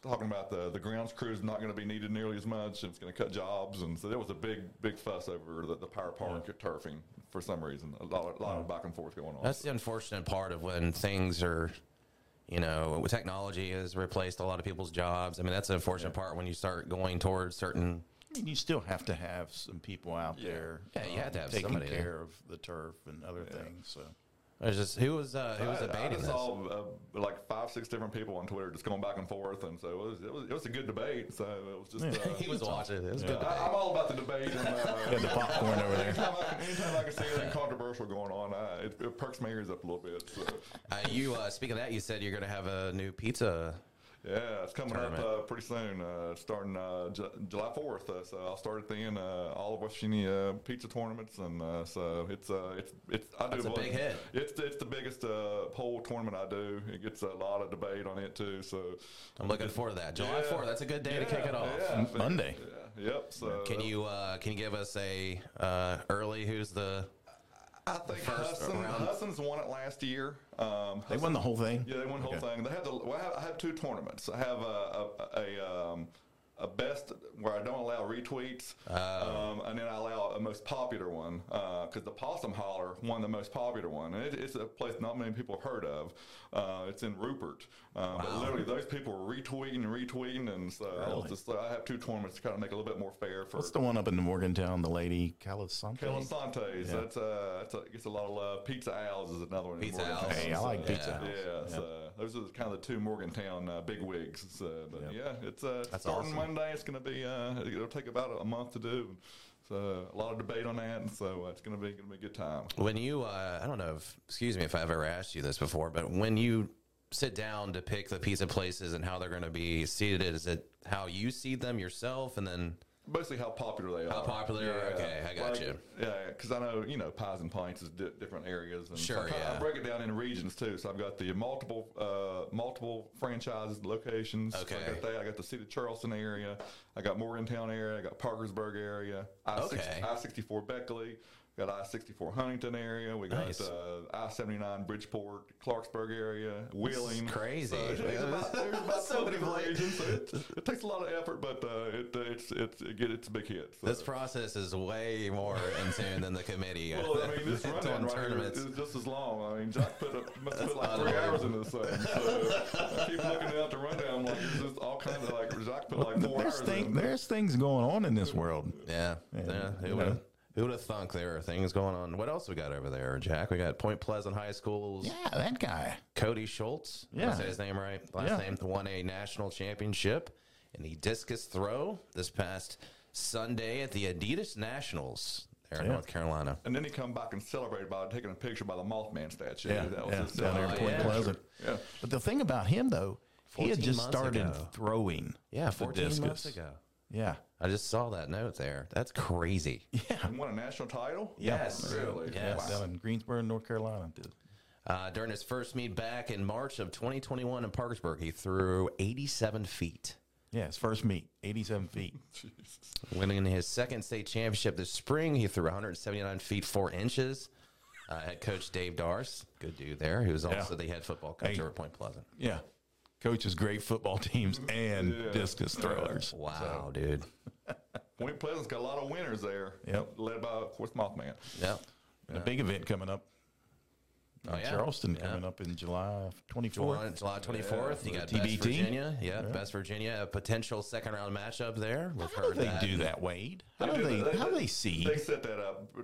Speaker 3: talking about the the grounds crew's not going to be needed nearly as much. and It's going to cut jobs, and so there was a big big fuss over the, the Power Park turfing for some reason. A lot, a lot of back and forth going on.
Speaker 2: Oh. That's the unfortunate part of when things are, you know, when technology has replaced a lot of people's jobs. I mean, that's the unfortunate part when you start going towards certain.
Speaker 4: that. I mean, you still have to have some people out there. um,
Speaker 2: Yeah, you have to have
Speaker 4: taking
Speaker 2: somebody there.
Speaker 4: care of the turf and other things. So
Speaker 2: There's just who was uh, who was
Speaker 3: I- I,
Speaker 2: debating
Speaker 3: just
Speaker 2: this.
Speaker 3: saw uh, like five, six different people on Twitter just going back and forth, and so it was it was, it was a good debate. So it was just
Speaker 2: *laughs* *laughs*
Speaker 3: uh,
Speaker 2: he was watching it. It was good.
Speaker 3: I, I'm all about the debate.
Speaker 2: *laughs*
Speaker 3: And, uh,
Speaker 4: the popcorn over there.
Speaker 3: Anytime I, can- anytime I can see anything controversial going on, I, it, it perks my ears up a little bit. So.
Speaker 2: Uh, you uh, speaking of that, you said you're going to have a new pizza.
Speaker 3: Yeah, it's coming up
Speaker 2: Tournament.
Speaker 3: uh, pretty soon, uh, starting uh, Ju- July 4th. Uh, so I'll start at the end, uh, all of West Virginia uh, pizza tournaments. And uh, so it's, uh, it's, it's, I do
Speaker 2: That's a
Speaker 3: believe-
Speaker 2: big hit.
Speaker 3: It's, it's the biggest uh, poll tournament I do. It gets a lot of debate on it, too. So
Speaker 2: I'm looking forward to that. July
Speaker 3: Yeah.
Speaker 2: 4th. That's a good day to kick it off.
Speaker 3: Yeah, *laughs* but-
Speaker 4: Monday.
Speaker 3: Yeah, yep. So
Speaker 2: Can you uh, can you give us a uh, early? Who's the?
Speaker 3: I think
Speaker 2: first
Speaker 3: Hudson,
Speaker 2: round?
Speaker 3: Hudson's won it last year. Um,
Speaker 4: they won the whole thing.
Speaker 3: Yeah, they won the whole thing. They had the. Well, I, have, I have two tournaments. I have a a, a, um, a best where I don't allow retweets, um, and then I allow a most popular one because the Possum Holler won the most popular one, and it, it's a place not many people have heard of. Uh, it's in Rupert, um, but literally those people were retweeting, retweeting, and so I was just I have two tournaments to kind of make it a little bit more fair for.
Speaker 4: What's the one up in Morgantown? The lady
Speaker 3: Kellen
Speaker 4: Calisante.
Speaker 3: Santes, that's uh, that's a, gets a lot of love. Pizza Al's is another one. in
Speaker 2: Pizza
Speaker 3: Morgantown.
Speaker 2: Al's.
Speaker 4: Hey, I like Pizza House.
Speaker 3: Yeah, so those are the- kind of the two Morgantown uh, big wigs. So, but yeah, it's uh, starting
Speaker 2: awesome.
Speaker 3: Monday. It's going to be uh, it'll take about a month to do. So a lot of debate on that, and so uh, it's going to be going to be a good time.
Speaker 2: When you, uh, I don't know if, excuse me if I've ever asked you this before, but when you sit down to pick the pizza places and how they're going to be seated, is it how you seed them yourself? And then,
Speaker 3: Basically, how popular they
Speaker 2: How
Speaker 3: are.
Speaker 2: popular, okay, I got
Speaker 3: Like,
Speaker 2: you.
Speaker 3: Yeah, because I know you know pies and pints is di- different areas. And
Speaker 2: Sure,
Speaker 3: so I-
Speaker 2: yeah.
Speaker 3: I break it down in regions too. So I've got the multiple uh, multiple franchises locations. So I
Speaker 2: Okay.
Speaker 3: got that. I got the city of Charleston area. I got Morgantown area. I got Parkersburg area. I
Speaker 2: Okay.
Speaker 3: I sixty four Beckley. Got I sixty four Huntington area. We got
Speaker 2: Nice.
Speaker 3: uh, I seventy nine Bridgeport, Clarksburg area, Wheeling. *laughs*
Speaker 2: crazy.
Speaker 3: So there's about, there's about
Speaker 2: So many
Speaker 3: 20 different
Speaker 2: pla-
Speaker 3: regions. So it, *laughs* it takes a lot of effort, but uh, it, it's it's it get, it's a big hit. So.
Speaker 2: this process is way more in tune than the committee.
Speaker 3: *laughs* Well, I mean,
Speaker 2: *laughs*
Speaker 4: *laughs*
Speaker 3: this
Speaker 2: Doing
Speaker 3: run on right here
Speaker 2: tournaments.
Speaker 3: is just as long. I mean, Jack put a, must put like three
Speaker 2: unbelievable.
Speaker 3: hours into this thing. So I keep looking at the rundown, like it's just all kinds of like Jack put like four
Speaker 4: There's
Speaker 3: hours.
Speaker 4: things.
Speaker 3: in.
Speaker 4: There's things going on in this world.
Speaker 2: Yeah. Yeah. Who would have who would have thunk there are things going on? What else we got over there, Jack? We got Point Pleasant High School's
Speaker 4: Yeah, that guy.
Speaker 2: Cody Schultz. Did I
Speaker 4: Yeah.
Speaker 2: say his name right. Last
Speaker 4: Yeah.
Speaker 2: name won a national championship in the discus throw this past Sunday at the Adidas Nationals there in North Carolina.
Speaker 3: And then he come back and celebrate by taking a picture by the Mothman statue.
Speaker 4: Yeah,
Speaker 3: that was
Speaker 4: yeah,
Speaker 3: his uh,
Speaker 4: down there in
Speaker 2: Oh,
Speaker 4: Point
Speaker 2: yeah.
Speaker 4: Pleasant.
Speaker 3: Yeah.
Speaker 4: But the thing about him though, he had
Speaker 2: 14
Speaker 4: just
Speaker 2: months
Speaker 4: started
Speaker 2: ago.
Speaker 4: throwing.
Speaker 2: Yeah,
Speaker 4: the
Speaker 2: 14 months
Speaker 4: discus.
Speaker 2: ago.
Speaker 4: Yeah,
Speaker 2: I just saw that note there. That's
Speaker 4: *laughs*
Speaker 2: crazy.
Speaker 3: He won a national title.
Speaker 2: Yes.
Speaker 3: Really?
Speaker 2: Yes.
Speaker 3: Wow.
Speaker 4: down in Greensboro, North Carolina. Did.
Speaker 2: Uh, during his first meet back in March of 2021 in Parkersburg, he threw 87 feet.
Speaker 4: Yeah, his first meet, 87 feet.
Speaker 2: Winning his second state championship this spring, he threw 179 feet 4 inches. Uh, head coach Dave Dars, good dude there, who's also the head football coach
Speaker 4: Hey.
Speaker 2: over at Point Pleasant.
Speaker 4: Yeah. Coaches great football *laughs* teams and discus throwers.
Speaker 2: Wow, dude.
Speaker 3: Point Pleasant's got a lot of winners there.
Speaker 4: Yep.
Speaker 3: Led by, of course, Mothman.
Speaker 2: Yep.
Speaker 4: And A big event coming up.
Speaker 2: Oh, yeah.
Speaker 4: Charleston
Speaker 2: Yeah.
Speaker 4: coming up in July 24th.
Speaker 2: July, July 24th, you got
Speaker 4: TBT.
Speaker 2: Best Virginia. Yeah, Best Virginia, a potential second round matchup there. We've
Speaker 4: How do
Speaker 2: heard
Speaker 4: they
Speaker 2: that.
Speaker 4: do that, Wade? How do they? How do they see?
Speaker 3: They set that up.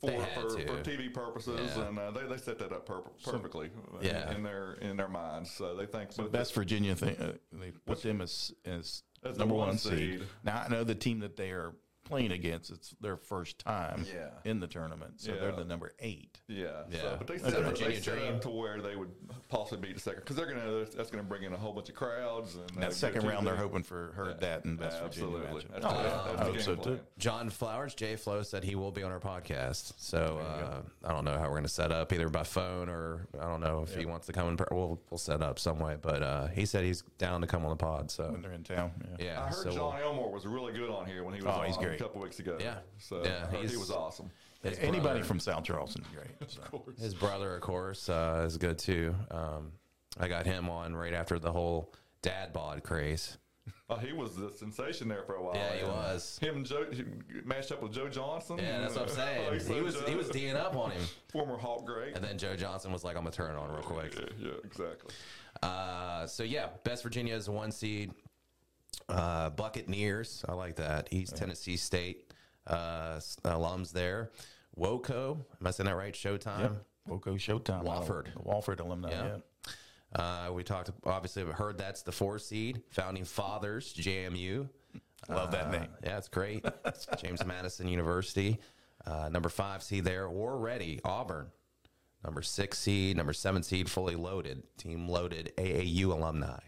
Speaker 3: for
Speaker 2: They had
Speaker 3: for,
Speaker 2: to.
Speaker 3: for TV purposes,
Speaker 2: Yeah.
Speaker 3: and uh, they, they set that up per- perfectly uh,
Speaker 2: Yeah.
Speaker 3: in their in their minds. So they think but
Speaker 4: Best Virginia thing. Uh, they put them as as
Speaker 3: As the
Speaker 4: number
Speaker 3: one
Speaker 4: one seed.
Speaker 3: seed.
Speaker 4: Now I know the team that they are playing against. It's their first time
Speaker 3: Yeah.
Speaker 4: in the tournament, so they're
Speaker 3: Yeah.
Speaker 4: the number eight.
Speaker 3: Yeah,
Speaker 2: Yeah.
Speaker 3: So, but they
Speaker 2: That's
Speaker 3: set,
Speaker 2: the
Speaker 3: up, they
Speaker 2: Virginia
Speaker 3: set
Speaker 2: dream.
Speaker 3: up to where they would possibly beat the second because they're gonna that's gonna bring in a whole bunch of crowds and uh,
Speaker 4: That
Speaker 3: get
Speaker 4: second
Speaker 3: you
Speaker 4: round,
Speaker 3: the-
Speaker 4: they're hoping for heard that in Best Virginia.
Speaker 3: absolutely.
Speaker 4: matchup.
Speaker 3: That's,
Speaker 4: Oh,
Speaker 3: the-
Speaker 4: yeah.
Speaker 3: that's
Speaker 4: I
Speaker 3: the
Speaker 4: hope
Speaker 3: game
Speaker 4: so
Speaker 3: plan.
Speaker 4: too.
Speaker 2: John Flowers, Jay Flo said he will be on our podcast. So uh, I don't know how we're going to set up either by phone or I don't know if he wants to come in. per- We'll we'll set up some way. But uh, he said he's down to come on the pod. So
Speaker 4: When they're in town. Yeah.
Speaker 2: yeah,
Speaker 3: I heard
Speaker 2: so
Speaker 3: John
Speaker 2: we'll-
Speaker 3: Elmore was really good on here when he was
Speaker 4: Oh,
Speaker 3: on
Speaker 4: he's great.
Speaker 3: a couple weeks ago.
Speaker 2: Yeah.
Speaker 3: so
Speaker 2: Yeah,
Speaker 3: I heard he
Speaker 2: he's-
Speaker 3: was awesome.
Speaker 2: his
Speaker 4: Anybody
Speaker 2: brother-
Speaker 4: from South Charleston, is great. So.
Speaker 2: His brother, of course, uh, is good too. Um, I got him on right after the whole dad bod craze.
Speaker 3: Oh, he was the sensation there for a while.
Speaker 2: Yeah, he
Speaker 3: And
Speaker 2: was.
Speaker 3: Him and Joe he matched up with Joe Johnson.
Speaker 2: Yeah, that's
Speaker 3: *laughs*
Speaker 2: what I'm
Speaker 3: Oh,
Speaker 2: saying. He
Speaker 3: said
Speaker 2: was
Speaker 3: Joe-
Speaker 2: he was D'ing up on him,
Speaker 3: former Hawk great.
Speaker 2: and then Joe Johnson was like, "I'm gonna turn it on real quick."
Speaker 3: yeah, yeah, exactly.
Speaker 2: Uh, so yeah, Best Virginia is a one seed. Uh, Buccaneers, I like that. East Tennessee State uh, s- alums there. Woco, am I saying that right? Showtime.
Speaker 4: Woco Showtime.
Speaker 2: Wofford.
Speaker 4: The Wofford alumni.
Speaker 2: Yeah.
Speaker 4: Yeah.
Speaker 2: Uh, we talked obviously. I've heard that's the four seed. Founding fathers, JMU.
Speaker 4: Love that name.
Speaker 2: Uh, Yeah, it's great. It's James Madison University, uh, number five seed there. Already Auburn, number six seed, number seven seed, fully loaded team, loaded AAU alumni,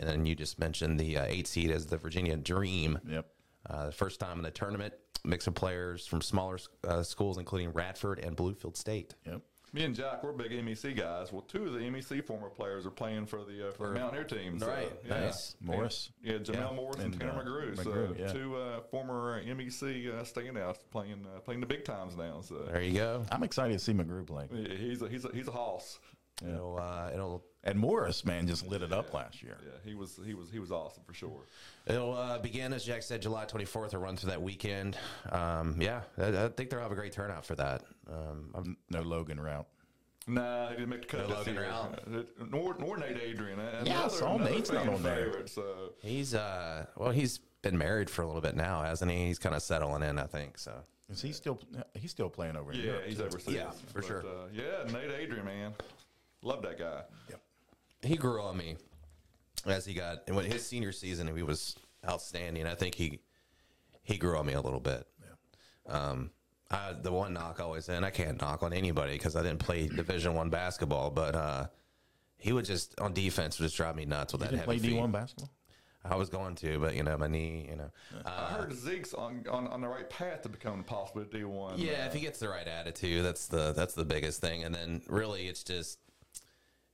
Speaker 2: and then you just mentioned the uh, eight seed as the Virginia Dream.
Speaker 4: Yep.
Speaker 2: Uh, the first time in the tournament, mix of players from smaller uh, schools, including Radford and Bluefield State.
Speaker 4: Yep.
Speaker 3: Me and Jack, we're big MEC guys. Well, two of the MEC former players are playing for the uh, for the Mountaineer teams. so,
Speaker 2: Right,
Speaker 3: yeah.
Speaker 2: nice.
Speaker 4: Morris.
Speaker 3: Yeah, Jamel Morris and,
Speaker 4: And,
Speaker 3: Tanner
Speaker 4: uh,
Speaker 3: McGrew. so
Speaker 4: McGrew, yeah.
Speaker 3: two uh, former uh, MEC uh, standouts playing uh, playing the big times now. So
Speaker 2: There you go.
Speaker 4: I'm excited to see McGrew play.
Speaker 3: yeah, he's a, he's a, he's a hoss.
Speaker 2: It'll uh, it'll
Speaker 4: And Morris, man, just lit it up last year.
Speaker 3: Yeah, he was he was he was awesome for sure.
Speaker 2: It'll uh, begin, as Jack said, July 24th. It'll run through that weekend. Um, yeah, I, I think they'll have a great turnout for that. Um, I'm-
Speaker 4: No Logan route.
Speaker 3: Nah, he didn't make the
Speaker 2: No
Speaker 3: cut. this
Speaker 2: Logan
Speaker 3: year.
Speaker 2: Ralph.
Speaker 3: Uh, *laughs* Nor, nor Nate Adrian. And
Speaker 4: Yeah, I
Speaker 3: another-
Speaker 4: saw
Speaker 3: another
Speaker 4: Nate's not
Speaker 3: fan
Speaker 4: on there.
Speaker 3: favorite, So
Speaker 2: he's uh, well, he's been married for a little bit now, hasn't he? He's kind of settling in, I think. So
Speaker 4: Is he still he's still playing over in
Speaker 3: yeah,
Speaker 4: Europe?
Speaker 3: he's
Speaker 4: too.
Speaker 3: overseas.
Speaker 2: Yeah, for
Speaker 3: But,
Speaker 2: sure.
Speaker 3: Uh, yeah, Nate Adrian, man, love that guy.
Speaker 2: he grew on me as he got and when his senior season, he was outstanding. I think he he grew on me a little bit. Um, I, the one knock always, and I can't knock on anybody because I didn't play Division One basketball, but uh, he would just on defense would just drive me nuts with
Speaker 4: He
Speaker 2: that
Speaker 4: didn't
Speaker 2: heavy
Speaker 4: play D
Speaker 2: feed.
Speaker 4: one basketball.
Speaker 2: I was going to, but you know, my knee, you know.
Speaker 3: I
Speaker 2: Uh,
Speaker 3: heard Zeke's on, on, on the right path to become possibly D one.
Speaker 2: yeah, if he gets the right attitude, that's the that's the biggest thing. And then really it's just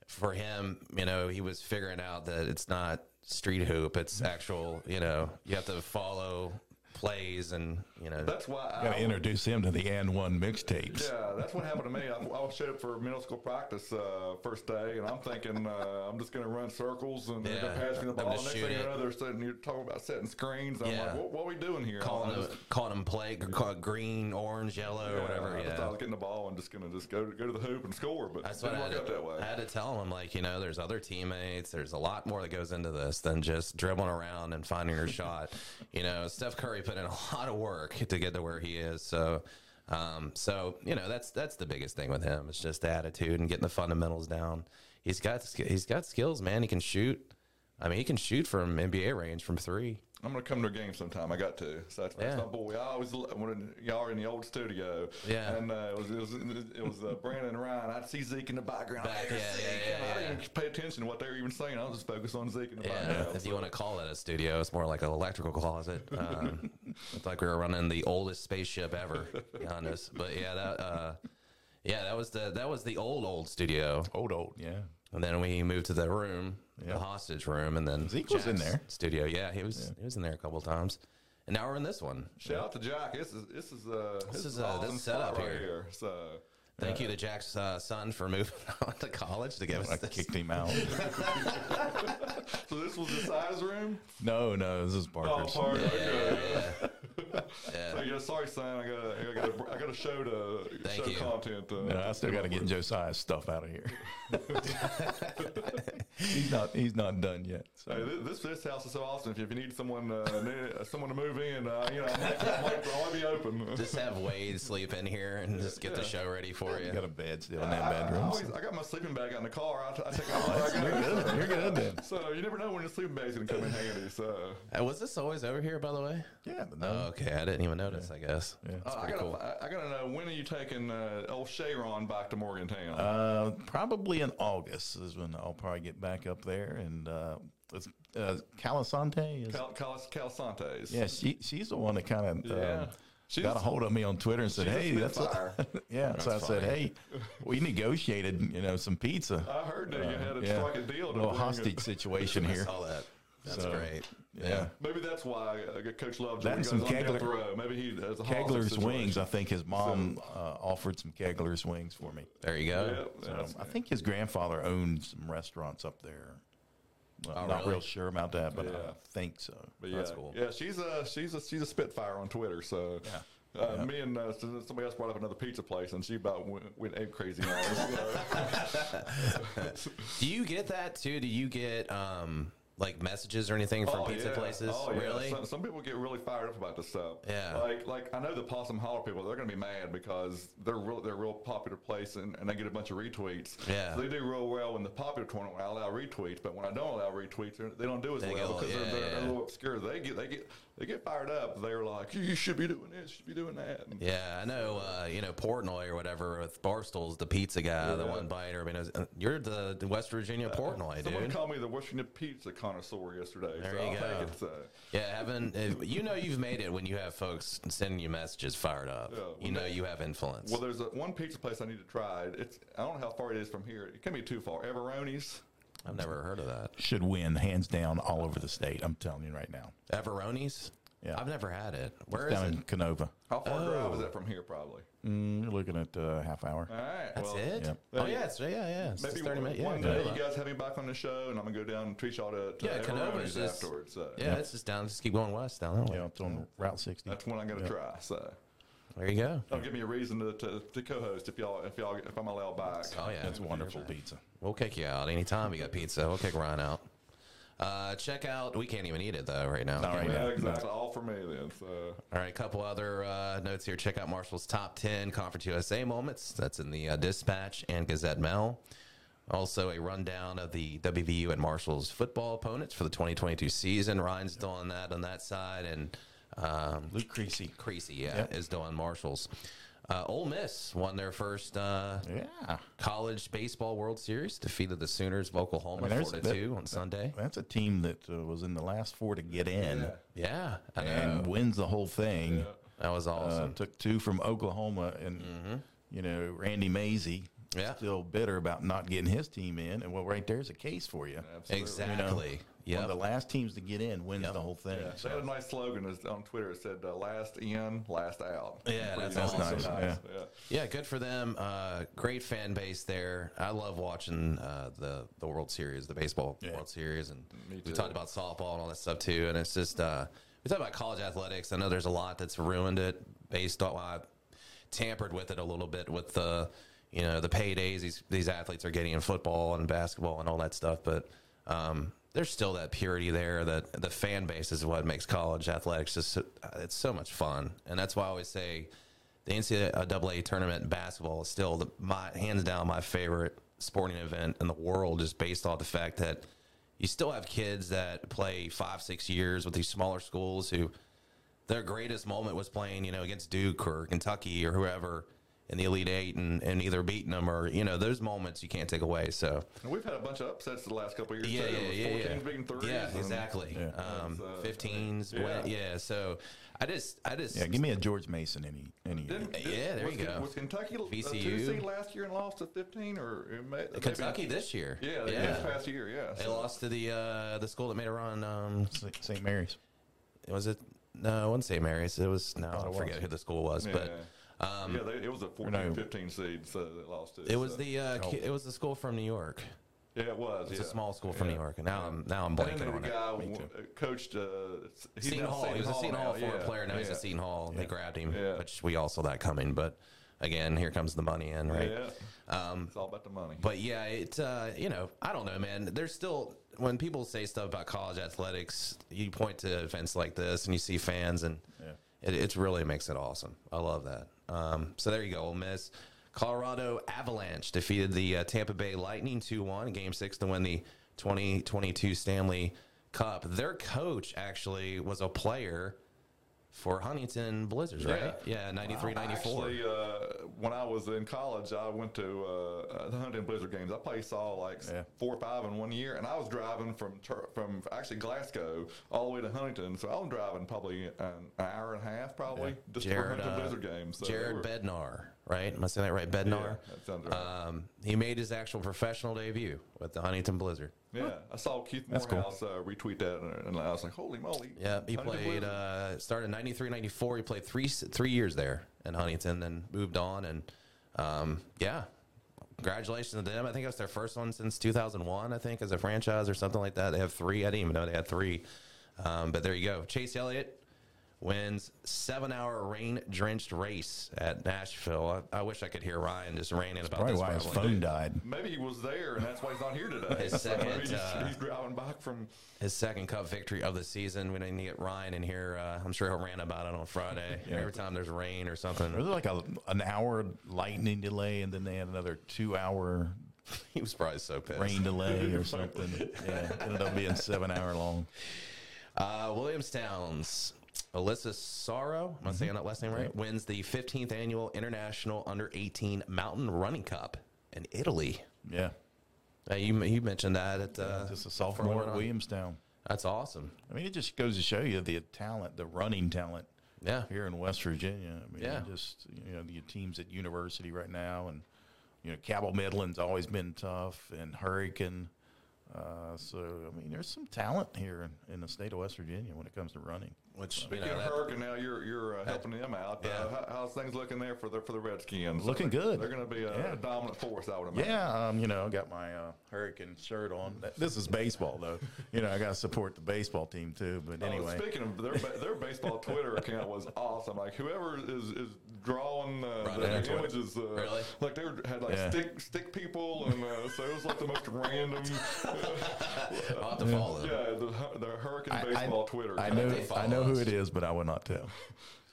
Speaker 2: for him, you know, he was figuring out that it's not street hoop, it's actual, you know, you have to follow plays and, you know,
Speaker 3: that's why I
Speaker 4: Got to introduce him to the and one mixtapes.
Speaker 3: *laughs* Yeah, that's what happened to me. I, I showed up for middle school practice uh, first day, and I'm thinking uh, I'm just going to run circles and they're
Speaker 2: Yeah,
Speaker 3: passing the
Speaker 2: them to
Speaker 3: ball. Next
Speaker 2: shoot
Speaker 3: thing you
Speaker 2: it.
Speaker 3: know, they're sitting, you're talking about setting screens. I'm
Speaker 2: Yeah.
Speaker 3: like, what, what are we doing here?
Speaker 2: calling
Speaker 3: I
Speaker 2: them,
Speaker 3: just-
Speaker 2: calling them play, call it green, orange, yellow, or
Speaker 3: yeah,
Speaker 2: whatever.
Speaker 3: I just
Speaker 2: Yeah.
Speaker 3: thought I was getting the ball and just going to just go to, go to the hoop and score, but
Speaker 2: That's what
Speaker 3: didn't
Speaker 2: I had,
Speaker 3: work out that
Speaker 2: to,
Speaker 3: way.
Speaker 2: I had to tell him. I'm like, you know, there's other teammates. There's a lot more that goes into this than just dribbling around and finding
Speaker 3: *laughs*
Speaker 2: your shot. You know, Steph Curry put in a *laughs* lot of work to get to where he is. So, um, so you know, that's that's the biggest thing with him. It's just the attitude and getting the fundamentals down. He's got sk- he's got skills, man. He can shoot. I mean, he can shoot from NBA range from three.
Speaker 3: I'm going to come to a game sometime. I got to. So that's, that's
Speaker 2: Yeah.
Speaker 3: my boy. I always lo- when y'all are in the old studio.
Speaker 2: Yeah.
Speaker 3: And uh, it was it was, it was uh, Brandon and Ryan. I'd see Zeke in the background.
Speaker 2: Back-
Speaker 3: "There's
Speaker 2: yeah,
Speaker 3: Zeke,"
Speaker 2: yeah,
Speaker 3: and
Speaker 2: yeah,
Speaker 3: I
Speaker 2: yeah.
Speaker 3: didn't pay attention to what they were even saying. I was just focused on Zeke in the
Speaker 2: Yeah,
Speaker 4: uh,
Speaker 2: *laughs*
Speaker 3: background.
Speaker 2: if you want to call it a studio, it's more like an
Speaker 4: *laughs*
Speaker 2: electrical closet. Um, it's like we were running the oldest spaceship ever, to be honest. But yeah, that uh, yeah, that was the that was the old old studio,
Speaker 4: Old old, yeah.
Speaker 2: and then we moved to the room,
Speaker 4: Yeah.
Speaker 2: the hostage room, and then
Speaker 4: Zeke was in
Speaker 2: Jack's
Speaker 4: there.
Speaker 2: studio. Yeah, he was he was in there a couple of times, and now we're in this one.
Speaker 3: Shout out to Jack. This is this is uh
Speaker 2: This is,
Speaker 3: an
Speaker 2: uh, this setup
Speaker 3: spot
Speaker 2: here.
Speaker 3: So
Speaker 2: Thank you to Jack's uh, son for moving *laughs* on to college to give us
Speaker 4: I
Speaker 2: this.
Speaker 4: kicked
Speaker 3: *laughs*
Speaker 4: him out.
Speaker 3: so this was the size room.
Speaker 4: no, no, this is Parker's.
Speaker 3: sorry.
Speaker 2: Yeah, yeah, yeah.
Speaker 3: Oh, So, yeah, sorry, son. I got I got I got a show to
Speaker 2: Thank
Speaker 3: show
Speaker 2: you.
Speaker 3: content. Uh,
Speaker 4: No, I still got to get Josiah's stuff out of here. *laughs* he's not. He's not done yet. So
Speaker 3: *laughs* Hey, thi- this this house is so awesome. If you, if you need someone uh, *laughs* new- someone to move in, uh, you know, I'm like, I'm like, I'll be open. *laughs*
Speaker 2: Just have Wade sleep in here and just get the show ready for you.
Speaker 4: you got a bed still in that
Speaker 3: I, I,
Speaker 4: bedroom.
Speaker 3: always, I got my sleeping bag out in the car. I, t- I take all my I got-
Speaker 4: You're
Speaker 3: *laughs*
Speaker 4: good. You're good then.
Speaker 3: So you never know when the sleeping bag's gonna come in handy. So
Speaker 2: Uh, was this always over here, by the way?
Speaker 4: Yeah. But no.
Speaker 2: Oh, okay. I didn't even notice, I guess.
Speaker 4: Yeah.
Speaker 3: uh, I
Speaker 2: pretty
Speaker 3: gotta
Speaker 2: cool.
Speaker 3: I, I gotta know when are you taking uh, old Sharon back to Morgantown?
Speaker 4: Uh, probably in August is when I'll probably get back up there. And uh, it's, uh, Calisante is.
Speaker 3: Cal, Cal, Calisantes.
Speaker 4: yeah, she she's the one that kind of
Speaker 3: Yeah.
Speaker 4: um,
Speaker 3: She's-
Speaker 4: got a hold of me on Twitter and said,
Speaker 3: she's a
Speaker 4: "Hey, that's a,
Speaker 3: spitfire.
Speaker 4: *laughs* yeah." so I said, "Hey, we negotiated, you know, some pizza."
Speaker 3: I heard that you had a
Speaker 4: Uh, yeah,
Speaker 3: strike a deal. to
Speaker 4: little
Speaker 3: bring it- *laughs*
Speaker 4: hostage situation
Speaker 2: I
Speaker 4: here.
Speaker 2: saw that. That's
Speaker 4: So,
Speaker 2: great.
Speaker 4: yeah.
Speaker 3: Maybe that's why uh, Coach Love
Speaker 4: That and
Speaker 3: goes
Speaker 4: some
Speaker 3: on death
Speaker 4: Kegler-
Speaker 3: row. Maybe he has a hostage
Speaker 4: Kegler's
Speaker 3: situation.
Speaker 4: wings. I think his mom uh, offered some Kegler's wings for me.
Speaker 2: There you go.
Speaker 3: Yep,
Speaker 4: Um,
Speaker 3: that's-
Speaker 4: I think his grandfather owned some restaurants up there. Well,
Speaker 2: Oh,
Speaker 4: not
Speaker 2: really?
Speaker 4: real sure about that, but I
Speaker 3: Yeah.
Speaker 4: think so.
Speaker 3: But yeah,
Speaker 2: That's cool.
Speaker 3: Yeah, she's a she's a she's a spitfire on Twitter. So
Speaker 4: Yeah.
Speaker 3: Uh, me and uh, s- somebody else brought up another pizza place, and she about went, went egg crazy.
Speaker 4: *laughs*
Speaker 3: on us.
Speaker 2: Do you get that too? Do you get um like messages or anything from
Speaker 3: Oh,
Speaker 2: pizza
Speaker 3: yeah.
Speaker 2: places?
Speaker 3: Oh, yeah.
Speaker 2: Really?
Speaker 3: Some, some people get really fired up about this stuff.
Speaker 2: Yeah.
Speaker 3: Like like I know the Possum Holler people, they're gonna be mad because they're real they're a real popular place and, and they get a bunch of retweets.
Speaker 2: Yeah.
Speaker 3: So they do real well in the popular tournament when I allow retweets, but when I don't allow retweets, they're- they don't do as
Speaker 2: They
Speaker 3: well
Speaker 2: go,
Speaker 3: because
Speaker 2: yeah,
Speaker 3: they're, they're,
Speaker 2: yeah.
Speaker 3: a little obscure. They get they get they get fired up. They're like, you should be doing this, you should be doing that. And-
Speaker 2: yeah, I know. Uh, you know Portnoy or whatever with Barstool's the pizza guy, the
Speaker 3: Yeah. Uh,
Speaker 2: one biter. I mean, it was- uh, you're the, the West Virginia Portnoy,
Speaker 3: Someone
Speaker 2: dude.
Speaker 3: called me the Washington pizza connoisseur yesterday.
Speaker 2: There
Speaker 3: so
Speaker 2: you
Speaker 3: I'll
Speaker 2: go.
Speaker 3: Take it, so.
Speaker 2: Yeah, having uh, you know you've made it when you have folks sending you messages fired up.
Speaker 3: Yeah, well,
Speaker 2: you know you have influence.
Speaker 3: Well, there's a, one pizza place I need to try. It's I don't know how far it is from here. It can be too far. Everoni's.
Speaker 2: I've never heard of that.
Speaker 4: Should win hands down all over the state. I'm telling you right now.
Speaker 2: Everoni's.
Speaker 4: Yeah.
Speaker 2: I've never had it. Where is
Speaker 4: down
Speaker 2: it?
Speaker 4: in Canova.
Speaker 3: How far drive
Speaker 2: Oh.
Speaker 3: is that from here? Probably.
Speaker 4: Mm, you're looking at uh, half hour.
Speaker 3: All right.
Speaker 2: That's
Speaker 3: well,
Speaker 2: it.
Speaker 4: yeah.
Speaker 2: Oh yeah, it's, yeah, yeah. It's
Speaker 3: Maybe
Speaker 2: thirty
Speaker 3: one,
Speaker 2: minutes. Yeah,
Speaker 3: one
Speaker 2: yeah.
Speaker 3: day you guys have me back on the show, and I'm gonna go down and treat y'all to, to
Speaker 2: Yeah, Canova's
Speaker 3: Everoni's
Speaker 2: just-
Speaker 3: afterwards. So.
Speaker 2: Yeah, it's just down. Just keep going west down that way.
Speaker 4: Yeah, it's on Route 60.
Speaker 3: That's one I'm gonna try. So.
Speaker 2: There you go.
Speaker 3: That'll give me a reason to, to, to co-host if y'all if y'all if I'm allowed back.
Speaker 2: Oh yeah,
Speaker 4: That's wonderful pizza.
Speaker 2: We'll kick you out anytime you got pizza. We'll kick Ryan out. Uh, check out. We can't even eat it though right now.
Speaker 4: All right.
Speaker 3: Yeah,
Speaker 4: now.
Speaker 3: exactly. All for me then. So.
Speaker 2: All right. A couple other uh, notes here. Check out Marshall's top ten Conference USA moments. That's in the uh, Dispatch and Gazette Mail. Also, a rundown of the WVU and Marshall's football opponents for the 2022 season. Ryan's doing that on that side, and um,
Speaker 4: Luke Creasy.
Speaker 2: Creasy, yeah,
Speaker 4: Yep.
Speaker 2: is doing Marshall's. Uh, Ole Miss won their first uh,
Speaker 4: Yeah.
Speaker 2: College Baseball World Series defeated the Sooners of
Speaker 4: I
Speaker 2: Oklahoma
Speaker 4: mean, there's-
Speaker 2: four to
Speaker 4: that-
Speaker 2: two on Sunday.
Speaker 4: That's a team that uh, was in the last four to get in
Speaker 2: Yeah, I know.
Speaker 4: and wins the whole thing.
Speaker 2: that was
Speaker 4: Uh,
Speaker 2: awesome. Mm-hmm.
Speaker 4: took two from Oklahoma, and you know Randy Mazie,
Speaker 2: Yeah.
Speaker 4: still bitter about not getting his team in. And well, right there's a case for you.
Speaker 2: exactly.
Speaker 4: One of the
Speaker 2: Yeah.
Speaker 4: last teams to get in wins the whole thing.
Speaker 3: They had a nice slogan is- on Twitter. It said uh, "Last in, last out."
Speaker 2: Yeah,
Speaker 3: Pretty
Speaker 2: that's awesome.
Speaker 4: That's nice,
Speaker 3: Yeah.
Speaker 2: Yeah, good for them. Uh, great fan base there. I love watching uh, the the World Series, the baseball
Speaker 4: Yeah.
Speaker 2: World Series, and we
Speaker 3: too.
Speaker 2: talked about softball and all that stuff too. And it's just uh, we talk about college athletics. I know there's a lot that's ruined it based on I tampered with it a little bit with the you know the paydays these these athletes are getting in football and basketball and all that stuff, but. Um, there's still that purity there that the fan base is what makes college athletics just so, uh, it's so much fun and that's why i always say the NCAA tournament in basketball is still the, my hands down my favorite sporting event in the world, just based off the fact that you still have kids that play five, six years with these smaller schools who their greatest moment was playing, you know, against Duke or Kentucky or whoever in the Elite Eight and, and either beating them or, you know, those moments you can't take away. So,
Speaker 3: And we've had a bunch of upsets the last couple of years.
Speaker 2: yeah,
Speaker 3: too.
Speaker 2: yeah,
Speaker 3: With
Speaker 2: yeah, yeah.
Speaker 3: 14 big threes.
Speaker 2: yeah,
Speaker 3: and-
Speaker 2: exactly. Um,
Speaker 3: That's, uh,
Speaker 2: 15s,
Speaker 3: yeah.
Speaker 2: yeah. yeah. So I just, I just,
Speaker 4: Yeah, give me a George Mason any any. year.
Speaker 3: Didn't-
Speaker 2: Yeah, there
Speaker 3: was,
Speaker 2: you go.
Speaker 3: Was Kentucky uh,
Speaker 2: VCU.
Speaker 3: VCU. two seed last year and lost to 15 or it may,
Speaker 2: Kentucky
Speaker 3: Maybe,
Speaker 2: this year.
Speaker 3: yeah, they- this past year, yeah.
Speaker 2: They
Speaker 3: so-
Speaker 2: lost to the uh, the school that made a run. Um,
Speaker 4: St. Mary's.
Speaker 2: was it? No, I wouldn't say Mary's. It was no, I
Speaker 4: it was.
Speaker 2: forget who the school was,
Speaker 3: Yeah.
Speaker 2: but
Speaker 3: Oh,
Speaker 2: um,
Speaker 3: yeah, they, it was a 14,
Speaker 4: no.
Speaker 3: 15 seed, so they lost it.
Speaker 2: it was
Speaker 3: so.
Speaker 2: the uh, ki- it was the school from New York.
Speaker 3: Yeah, it was.
Speaker 2: It's
Speaker 3: yeah.
Speaker 2: a small school from
Speaker 3: Yeah.
Speaker 2: New York, and now I'm now I'm
Speaker 3: And then there
Speaker 2: blanking on
Speaker 3: was a
Speaker 2: it.
Speaker 3: guy
Speaker 4: Me too.
Speaker 3: who coached. Uh, s- he's
Speaker 2: Seton
Speaker 3: now at
Speaker 2: Hall. He was a Seton Hall
Speaker 3: now,
Speaker 2: former
Speaker 3: yeah,
Speaker 2: player. Now he's
Speaker 3: yeah.
Speaker 2: at Seton Hall. They grabbed him,
Speaker 3: Yeah.
Speaker 2: which we all saw that coming. But again, here comes the money in, right?
Speaker 3: Yeah. Um, it's all about the money.
Speaker 2: But yeah, it uh, you know I don't know, man. There's still when people say stuff about college athletics, you point to events like this and you see fans, and it, it really makes it awesome. I love that. Um, so there you go, Ole Miss. Colorado Avalanche defeated the uh, Tampa Bay Lightning two one in Game Six to win the 2022 Stanley Cup. Their coach actually was a player for Huntington Blizzards, right? Yeah, 93, 94.
Speaker 3: Actually, uh, when I was in college, I went to uh, the Huntington Blizzard games. I played saw like s-
Speaker 4: Yeah.
Speaker 3: four or five in one year, and I was driving from Tur- from actually Glasgow all the way to Huntington. So I was driving probably an, an hour and a half, probably just
Speaker 2: Jared,
Speaker 3: for Huntington
Speaker 2: uh,
Speaker 3: Blizzard games. So they
Speaker 2: Jared
Speaker 3: were-
Speaker 2: Bednar, right? Am I saying that right? Bednar.
Speaker 3: Yeah, that sounds right.
Speaker 2: Um, he made his actual professional debut with the Huntington Blizzard.
Speaker 3: yeah, I saw Keith
Speaker 4: cool.
Speaker 3: Morehouse uh, retweet that, and, and I was like, "Holy moly!"
Speaker 2: Yeah, he
Speaker 3: Huntington
Speaker 2: played.
Speaker 3: Blizzard.
Speaker 2: Uh, started in 93, 94. He played three s- three years there in Huntington, then moved on, and um, yeah, congratulations to them. I think that's their first one since 2001. I think as a franchise or something like that. They have three. I didn't even know they had three. Um, but there you go. Chase Elliott wins seven hour rain drenched race at Nashville. I, I wish I could hear Ryan just ranting about
Speaker 4: Probably
Speaker 2: this.
Speaker 4: why his
Speaker 2: probably.
Speaker 4: phone died.
Speaker 3: Maybe he was there, and that's why he's not here today.
Speaker 2: His
Speaker 3: *laughs* So maybe
Speaker 2: second,
Speaker 3: he's,
Speaker 2: uh,
Speaker 3: he's driving back from.
Speaker 2: his second cup victory of the season. We didn't get Ryan in here. Uh, I'm sure he'll rant about it on Friday.
Speaker 4: *laughs*
Speaker 2: Every time there's rain or
Speaker 4: Was
Speaker 2: something,
Speaker 4: it like a, an hour lightning delay, and then they had another two hour
Speaker 2: *laughs* he was probably so pissed. *laughs*
Speaker 4: rain delay or something? Yeah, it ended up being seven hour long.
Speaker 2: Uh, Williamstown's Alyssa Sorrow,
Speaker 4: Mm-hmm.
Speaker 2: am I saying that last name right? Wins the 15th annual International Under 18 Mountain Running Cup in Italy.
Speaker 4: Yeah,
Speaker 2: Uh, you you mentioned that at uh,
Speaker 4: just a
Speaker 2: Formula
Speaker 4: sophomore at
Speaker 2: One.
Speaker 4: Williamstown.
Speaker 2: That's awesome.
Speaker 4: I mean, it just goes to show you the talent, the running talent
Speaker 2: Yeah,
Speaker 4: here in West Virginia. I mean,
Speaker 2: Yeah.
Speaker 4: just you know, the teams at university right now, and you know, Cabell Midland's always been tough, and Hurricane. Uh, so I mean, there's some talent here in, in the state of West Virginia when it comes to running.
Speaker 2: which you
Speaker 3: Speaking
Speaker 2: know,
Speaker 3: of
Speaker 2: that-
Speaker 3: Hurricane, now you're you're uh, helping them out.
Speaker 2: Yeah.
Speaker 3: Uh, how, how's things looking there for the for the Redskins?
Speaker 4: Looking
Speaker 3: They're-
Speaker 4: good.
Speaker 3: They're going to be a
Speaker 4: Yeah.
Speaker 3: dominant force, I would imagine.
Speaker 4: Yeah, um, you know, I got my uh, Hurricane shirt on. That- This is baseball, though. *laughs* You know, I got to support the baseball team too. But
Speaker 3: Oh,
Speaker 4: anyway,
Speaker 3: speaking of their ba-
Speaker 4: *laughs*
Speaker 3: their baseball Twitter account was awesome. Like whoever is is drawing uh,
Speaker 2: their
Speaker 3: the
Speaker 2: Twitter.
Speaker 3: images, uh,
Speaker 2: Really?
Speaker 3: like they were, had like
Speaker 4: Yeah.
Speaker 3: stick stick people, and uh, so it was like
Speaker 4: *laughs*
Speaker 3: the most random. *laughs*
Speaker 2: I'll have to follow.
Speaker 3: Yeah, the, hu- the Hurricane
Speaker 4: I, I-
Speaker 3: baseball Twitter.
Speaker 4: I
Speaker 3: account.
Speaker 4: know,
Speaker 2: They follow
Speaker 4: I know who
Speaker 2: us.
Speaker 4: it is, but I will not tell.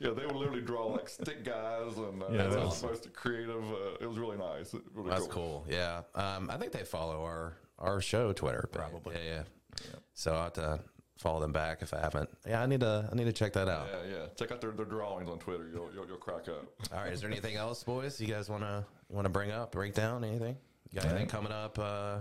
Speaker 3: Yeah, they would literally draw like stick guys, and uh,
Speaker 4: Yeah,
Speaker 3: it was
Speaker 4: that's-
Speaker 3: supposed to creative. Uh, it was really nice. It- Really
Speaker 2: That's cool. Yeah. Um, I think they follow our, our show Twitter. but-
Speaker 4: Probably.
Speaker 2: Yeah, yeah. So I have to follow them back if I haven't. Yeah, I need to I need to check that out.
Speaker 3: Yeah, yeah. Check out their, their drawings on Twitter. You'll you'll, you'll crack up.
Speaker 2: All right. Is there anything else, boys? You guys wanna you wanna bring up, break down anything? You got anything coming up? Uh,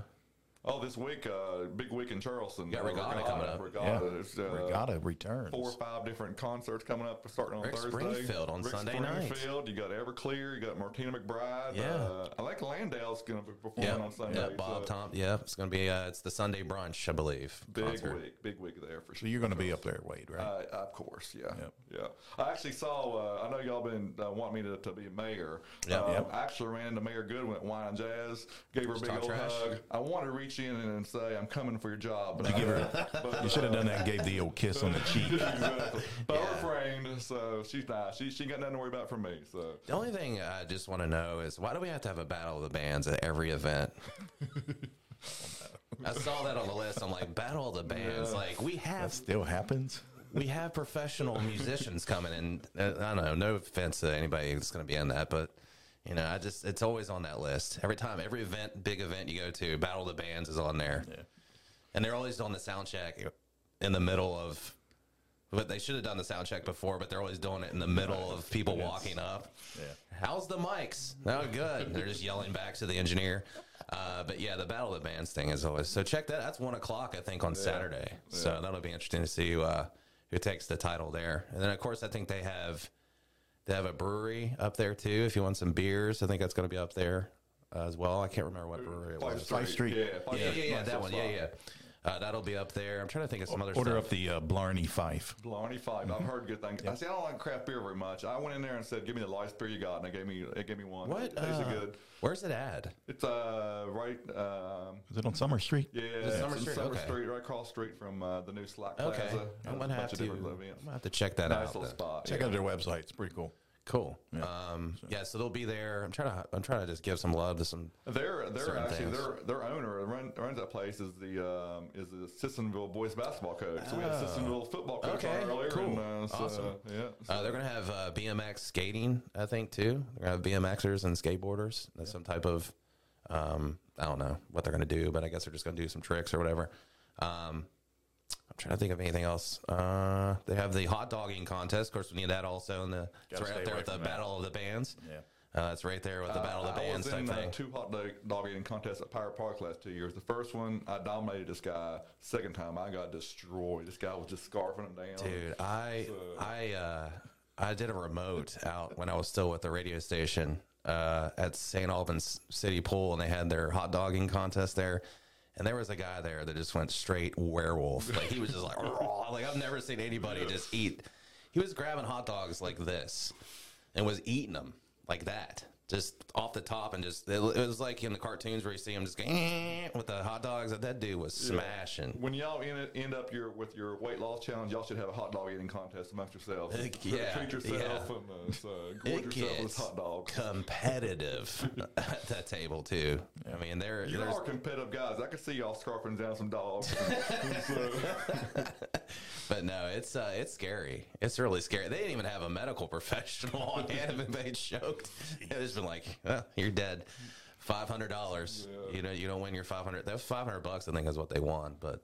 Speaker 3: Oh, this week, uh, big week in Charleston.
Speaker 2: got
Speaker 3: Uh,
Speaker 2: regatta coming up.
Speaker 4: Yeah,
Speaker 3: Regatta. There's, uh,
Speaker 4: regatta returns.
Speaker 3: Four or five different concerts coming up starting on
Speaker 2: Rick
Speaker 3: Thursday.
Speaker 2: Springfield on Sunday night.
Speaker 3: Springfield. You got Everclear. You got Martina McBride.
Speaker 2: Yeah.
Speaker 3: Uh, I like Landau's going to be performing
Speaker 2: yeah.
Speaker 3: on Sunday.
Speaker 2: Yeah. Bob
Speaker 3: so
Speaker 2: Tom. Yeah. It's gonna be uh, it's the Sunday brunch, I believe.
Speaker 3: Big
Speaker 2: concert.
Speaker 3: week. Big week there for
Speaker 4: So
Speaker 3: sure.
Speaker 4: you're going to be up there, Wade, right?
Speaker 3: Uh, of course, yeah,
Speaker 4: Yep.
Speaker 3: yeah. I actually saw. Uh, I know y'all been uh, want me to, to be a mayor.
Speaker 2: Yep.
Speaker 3: Um,
Speaker 4: Yep.
Speaker 3: I actually ran into Mayor Goodwin at Wine and Jazz. Gave her a big
Speaker 2: talk
Speaker 3: old
Speaker 2: trash?
Speaker 3: hug. I wanted to reach in and say I'm coming for your job. But I,
Speaker 4: give her-
Speaker 3: but, *laughs*
Speaker 4: you should have done that. and Gave the old kiss on the cheek.
Speaker 3: exactly. But
Speaker 2: Yeah.
Speaker 3: I refrained, so she's not. She she ain't got nothing to worry about from me. So
Speaker 2: The only thing I just want to know is why do we have to have a battle of the bands at every
Speaker 3: *laughs*
Speaker 2: event? I saw that on the list. I'm like, battle of the bands. Like we have
Speaker 4: Still happens.
Speaker 2: we have professional musicians coming in. Uh, I don't know. No offense to anybody that's going to be in that, but you know, I just it's always on that list. Every time, every event, big event you go to, Battle of the Bands is on there, and they're always doing the sound check in the middle of. But they should have done the sound check before, but they're always doing it in the middle of people walking up. How's the mics? Oh, good. They're just yelling back to the engineer. Uh, but yeah, the Battle of the Bands thing is always so. Check that. That's one o'clock, I think, on Saturday. So that'll be interesting to see who, uh, who takes the title there. And then, of course, I think they have they have a brewery up there too. If you want some beers, I think that's going to be up there uh, as well. I can't remember what brewery it was.
Speaker 4: Street.
Speaker 3: Yeah, Fife
Speaker 2: Yeah, yeah,
Speaker 3: Street's
Speaker 2: Oh, yeah,
Speaker 3: nice
Speaker 2: that
Speaker 3: little
Speaker 2: one. Yeah,
Speaker 3: spot.
Speaker 2: yeah. Uh, that'll be up there. I'm trying to think of some other
Speaker 4: Order
Speaker 2: stuff.
Speaker 4: up the uh, Blarney Fife.
Speaker 3: Blarney Five.
Speaker 2: Mm-hmm.
Speaker 3: I've heard good things. I see. I don't like craft beer very much. I went in there and said, "Give me the lightest beer you got," and they gave me they gave me one.
Speaker 2: What?
Speaker 3: It tasted
Speaker 2: uh,
Speaker 3: good.
Speaker 2: Where's it at?
Speaker 3: It's uh right um,
Speaker 4: Is it on Summer Street?
Speaker 3: yeah,
Speaker 2: it
Speaker 3: it's
Speaker 2: Summer
Speaker 3: in
Speaker 2: Street?
Speaker 3: Summer
Speaker 2: Okay.
Speaker 3: Street, right across the street from uh, the new Slack Plaza.
Speaker 2: Okay,
Speaker 3: There's
Speaker 2: I'm
Speaker 3: a
Speaker 2: gonna have
Speaker 3: bunch of
Speaker 2: to. I'm
Speaker 3: different
Speaker 2: gonna
Speaker 3: events.
Speaker 2: have to check that
Speaker 3: Nice
Speaker 2: out.
Speaker 3: little
Speaker 2: then.
Speaker 3: spot.
Speaker 4: Check out their website. It's pretty cool.
Speaker 2: Cool. Um, yeah, so they'll be there. I'm trying to. I'm trying to just give some love to some.
Speaker 3: Their their
Speaker 2: Certain
Speaker 3: actually
Speaker 2: things.
Speaker 3: their their owner run, runs that place is the um, is the Sissonville boys basketball coach. So we had Sissonville football coach
Speaker 2: Oh. Okay,
Speaker 3: on earlier.
Speaker 2: cool.
Speaker 3: And, uh, so,
Speaker 2: Awesome.
Speaker 3: Yeah.
Speaker 2: Uh, they're gonna have uh, BMX skating, I think, too. They're gonna have BMXers and skateboarders. That's some type of. Um, I don't know what they're gonna do, but I guess they're just gonna do some tricks or whatever. Um, I'm trying to think of anything else. Uh, they have the hot dogging contest. Of course, we need that also. And the it's
Speaker 4: Gotta
Speaker 2: right
Speaker 4: stay
Speaker 2: up there
Speaker 4: away
Speaker 2: with the
Speaker 4: from that.
Speaker 2: Battle of the Bands.
Speaker 4: Yeah.
Speaker 2: Uh, it's right there with the Battle of the
Speaker 3: I
Speaker 2: Bands
Speaker 3: was
Speaker 2: type
Speaker 3: in uh,
Speaker 2: thing.
Speaker 3: two hot dog, dog eating contests at Pirate Park last two years. The first one, I dominated this guy. Second time, I got destroyed. This guy was just scarfing him down.
Speaker 2: Dude, I I uh, I did a remote out when I was still with the radio station uh, at St. Albans City Pool, and they had their hot dogging contest there. And there was a guy there that just went straight werewolf. Like he was just like, "Raw." like I've never seen anybody just eat. He was grabbing hot dogs like this, and was eating them like that, just off the top, and just it was like in the cartoons where you see him just going "Eh," with the hot dogs. That that dude was smashing.
Speaker 3: When y'all end, end up your with your weight loss challenge, y'all should have a hot dog eating contest amongst yourselves.
Speaker 2: Heck yeah,
Speaker 3: treat yourself
Speaker 2: yeah.
Speaker 3: *laughs* and uh, so gorge
Speaker 2: it
Speaker 3: yourself with
Speaker 2: gets
Speaker 3: hot dogs. *laughs*
Speaker 2: competitive at that table too. I mean, there,
Speaker 3: You
Speaker 2: there's,
Speaker 3: are competitive guys. I can see y'all scarfing down
Speaker 2: *laughs*
Speaker 3: some dogs. So,
Speaker 2: but no, it's uh, it's scary. It's really scary. They didn't even have a medical *laughs* professional on hand if they choked. It's been like, "Well, you're dead. Five hundred dollars. You know, you don't win your five hundred. That was five hundred bucks. I think is what they won, but.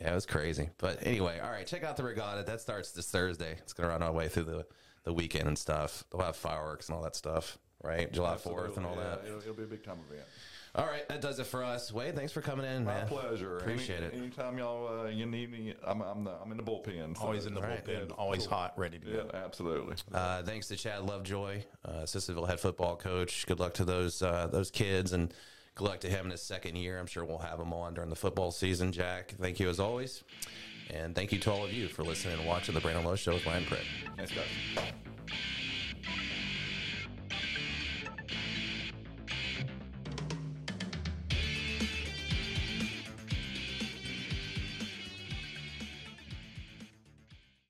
Speaker 2: Yeah, it was crazy. But anyway, all right, check out the regatta. That starts this Thursday. It's gonna run all the way through the, the weekend and stuff. They'll have fireworks and all that stuff, right? July fourth and all
Speaker 3: yeah,
Speaker 2: that.
Speaker 3: It'll, it'll be a big time event.
Speaker 2: All right, that does it for us. Wade, thanks for coming in,
Speaker 3: My
Speaker 2: man.
Speaker 3: pleasure.
Speaker 2: Appreciate
Speaker 3: Any-
Speaker 2: it.
Speaker 3: Anytime y'all uh, you need me, I'm I'm, the, I'm in the bullpen. so-
Speaker 4: Always in the
Speaker 2: Right.
Speaker 4: bullpen. Always hot, ready to
Speaker 3: Yeah,
Speaker 4: go.
Speaker 3: absolutely.
Speaker 2: Uh, thanks to Chad Lovejoy, uh, Sissonville head football coach. Good luck to those uh, those kids, and good luck to him in his second year. I'm sure we'll have him on during the football season. Jack, thank you as always, and thank you to all of you for listening and watching the Brandon Lowe Show with Ryan Pritt.
Speaker 3: Thanks, guys.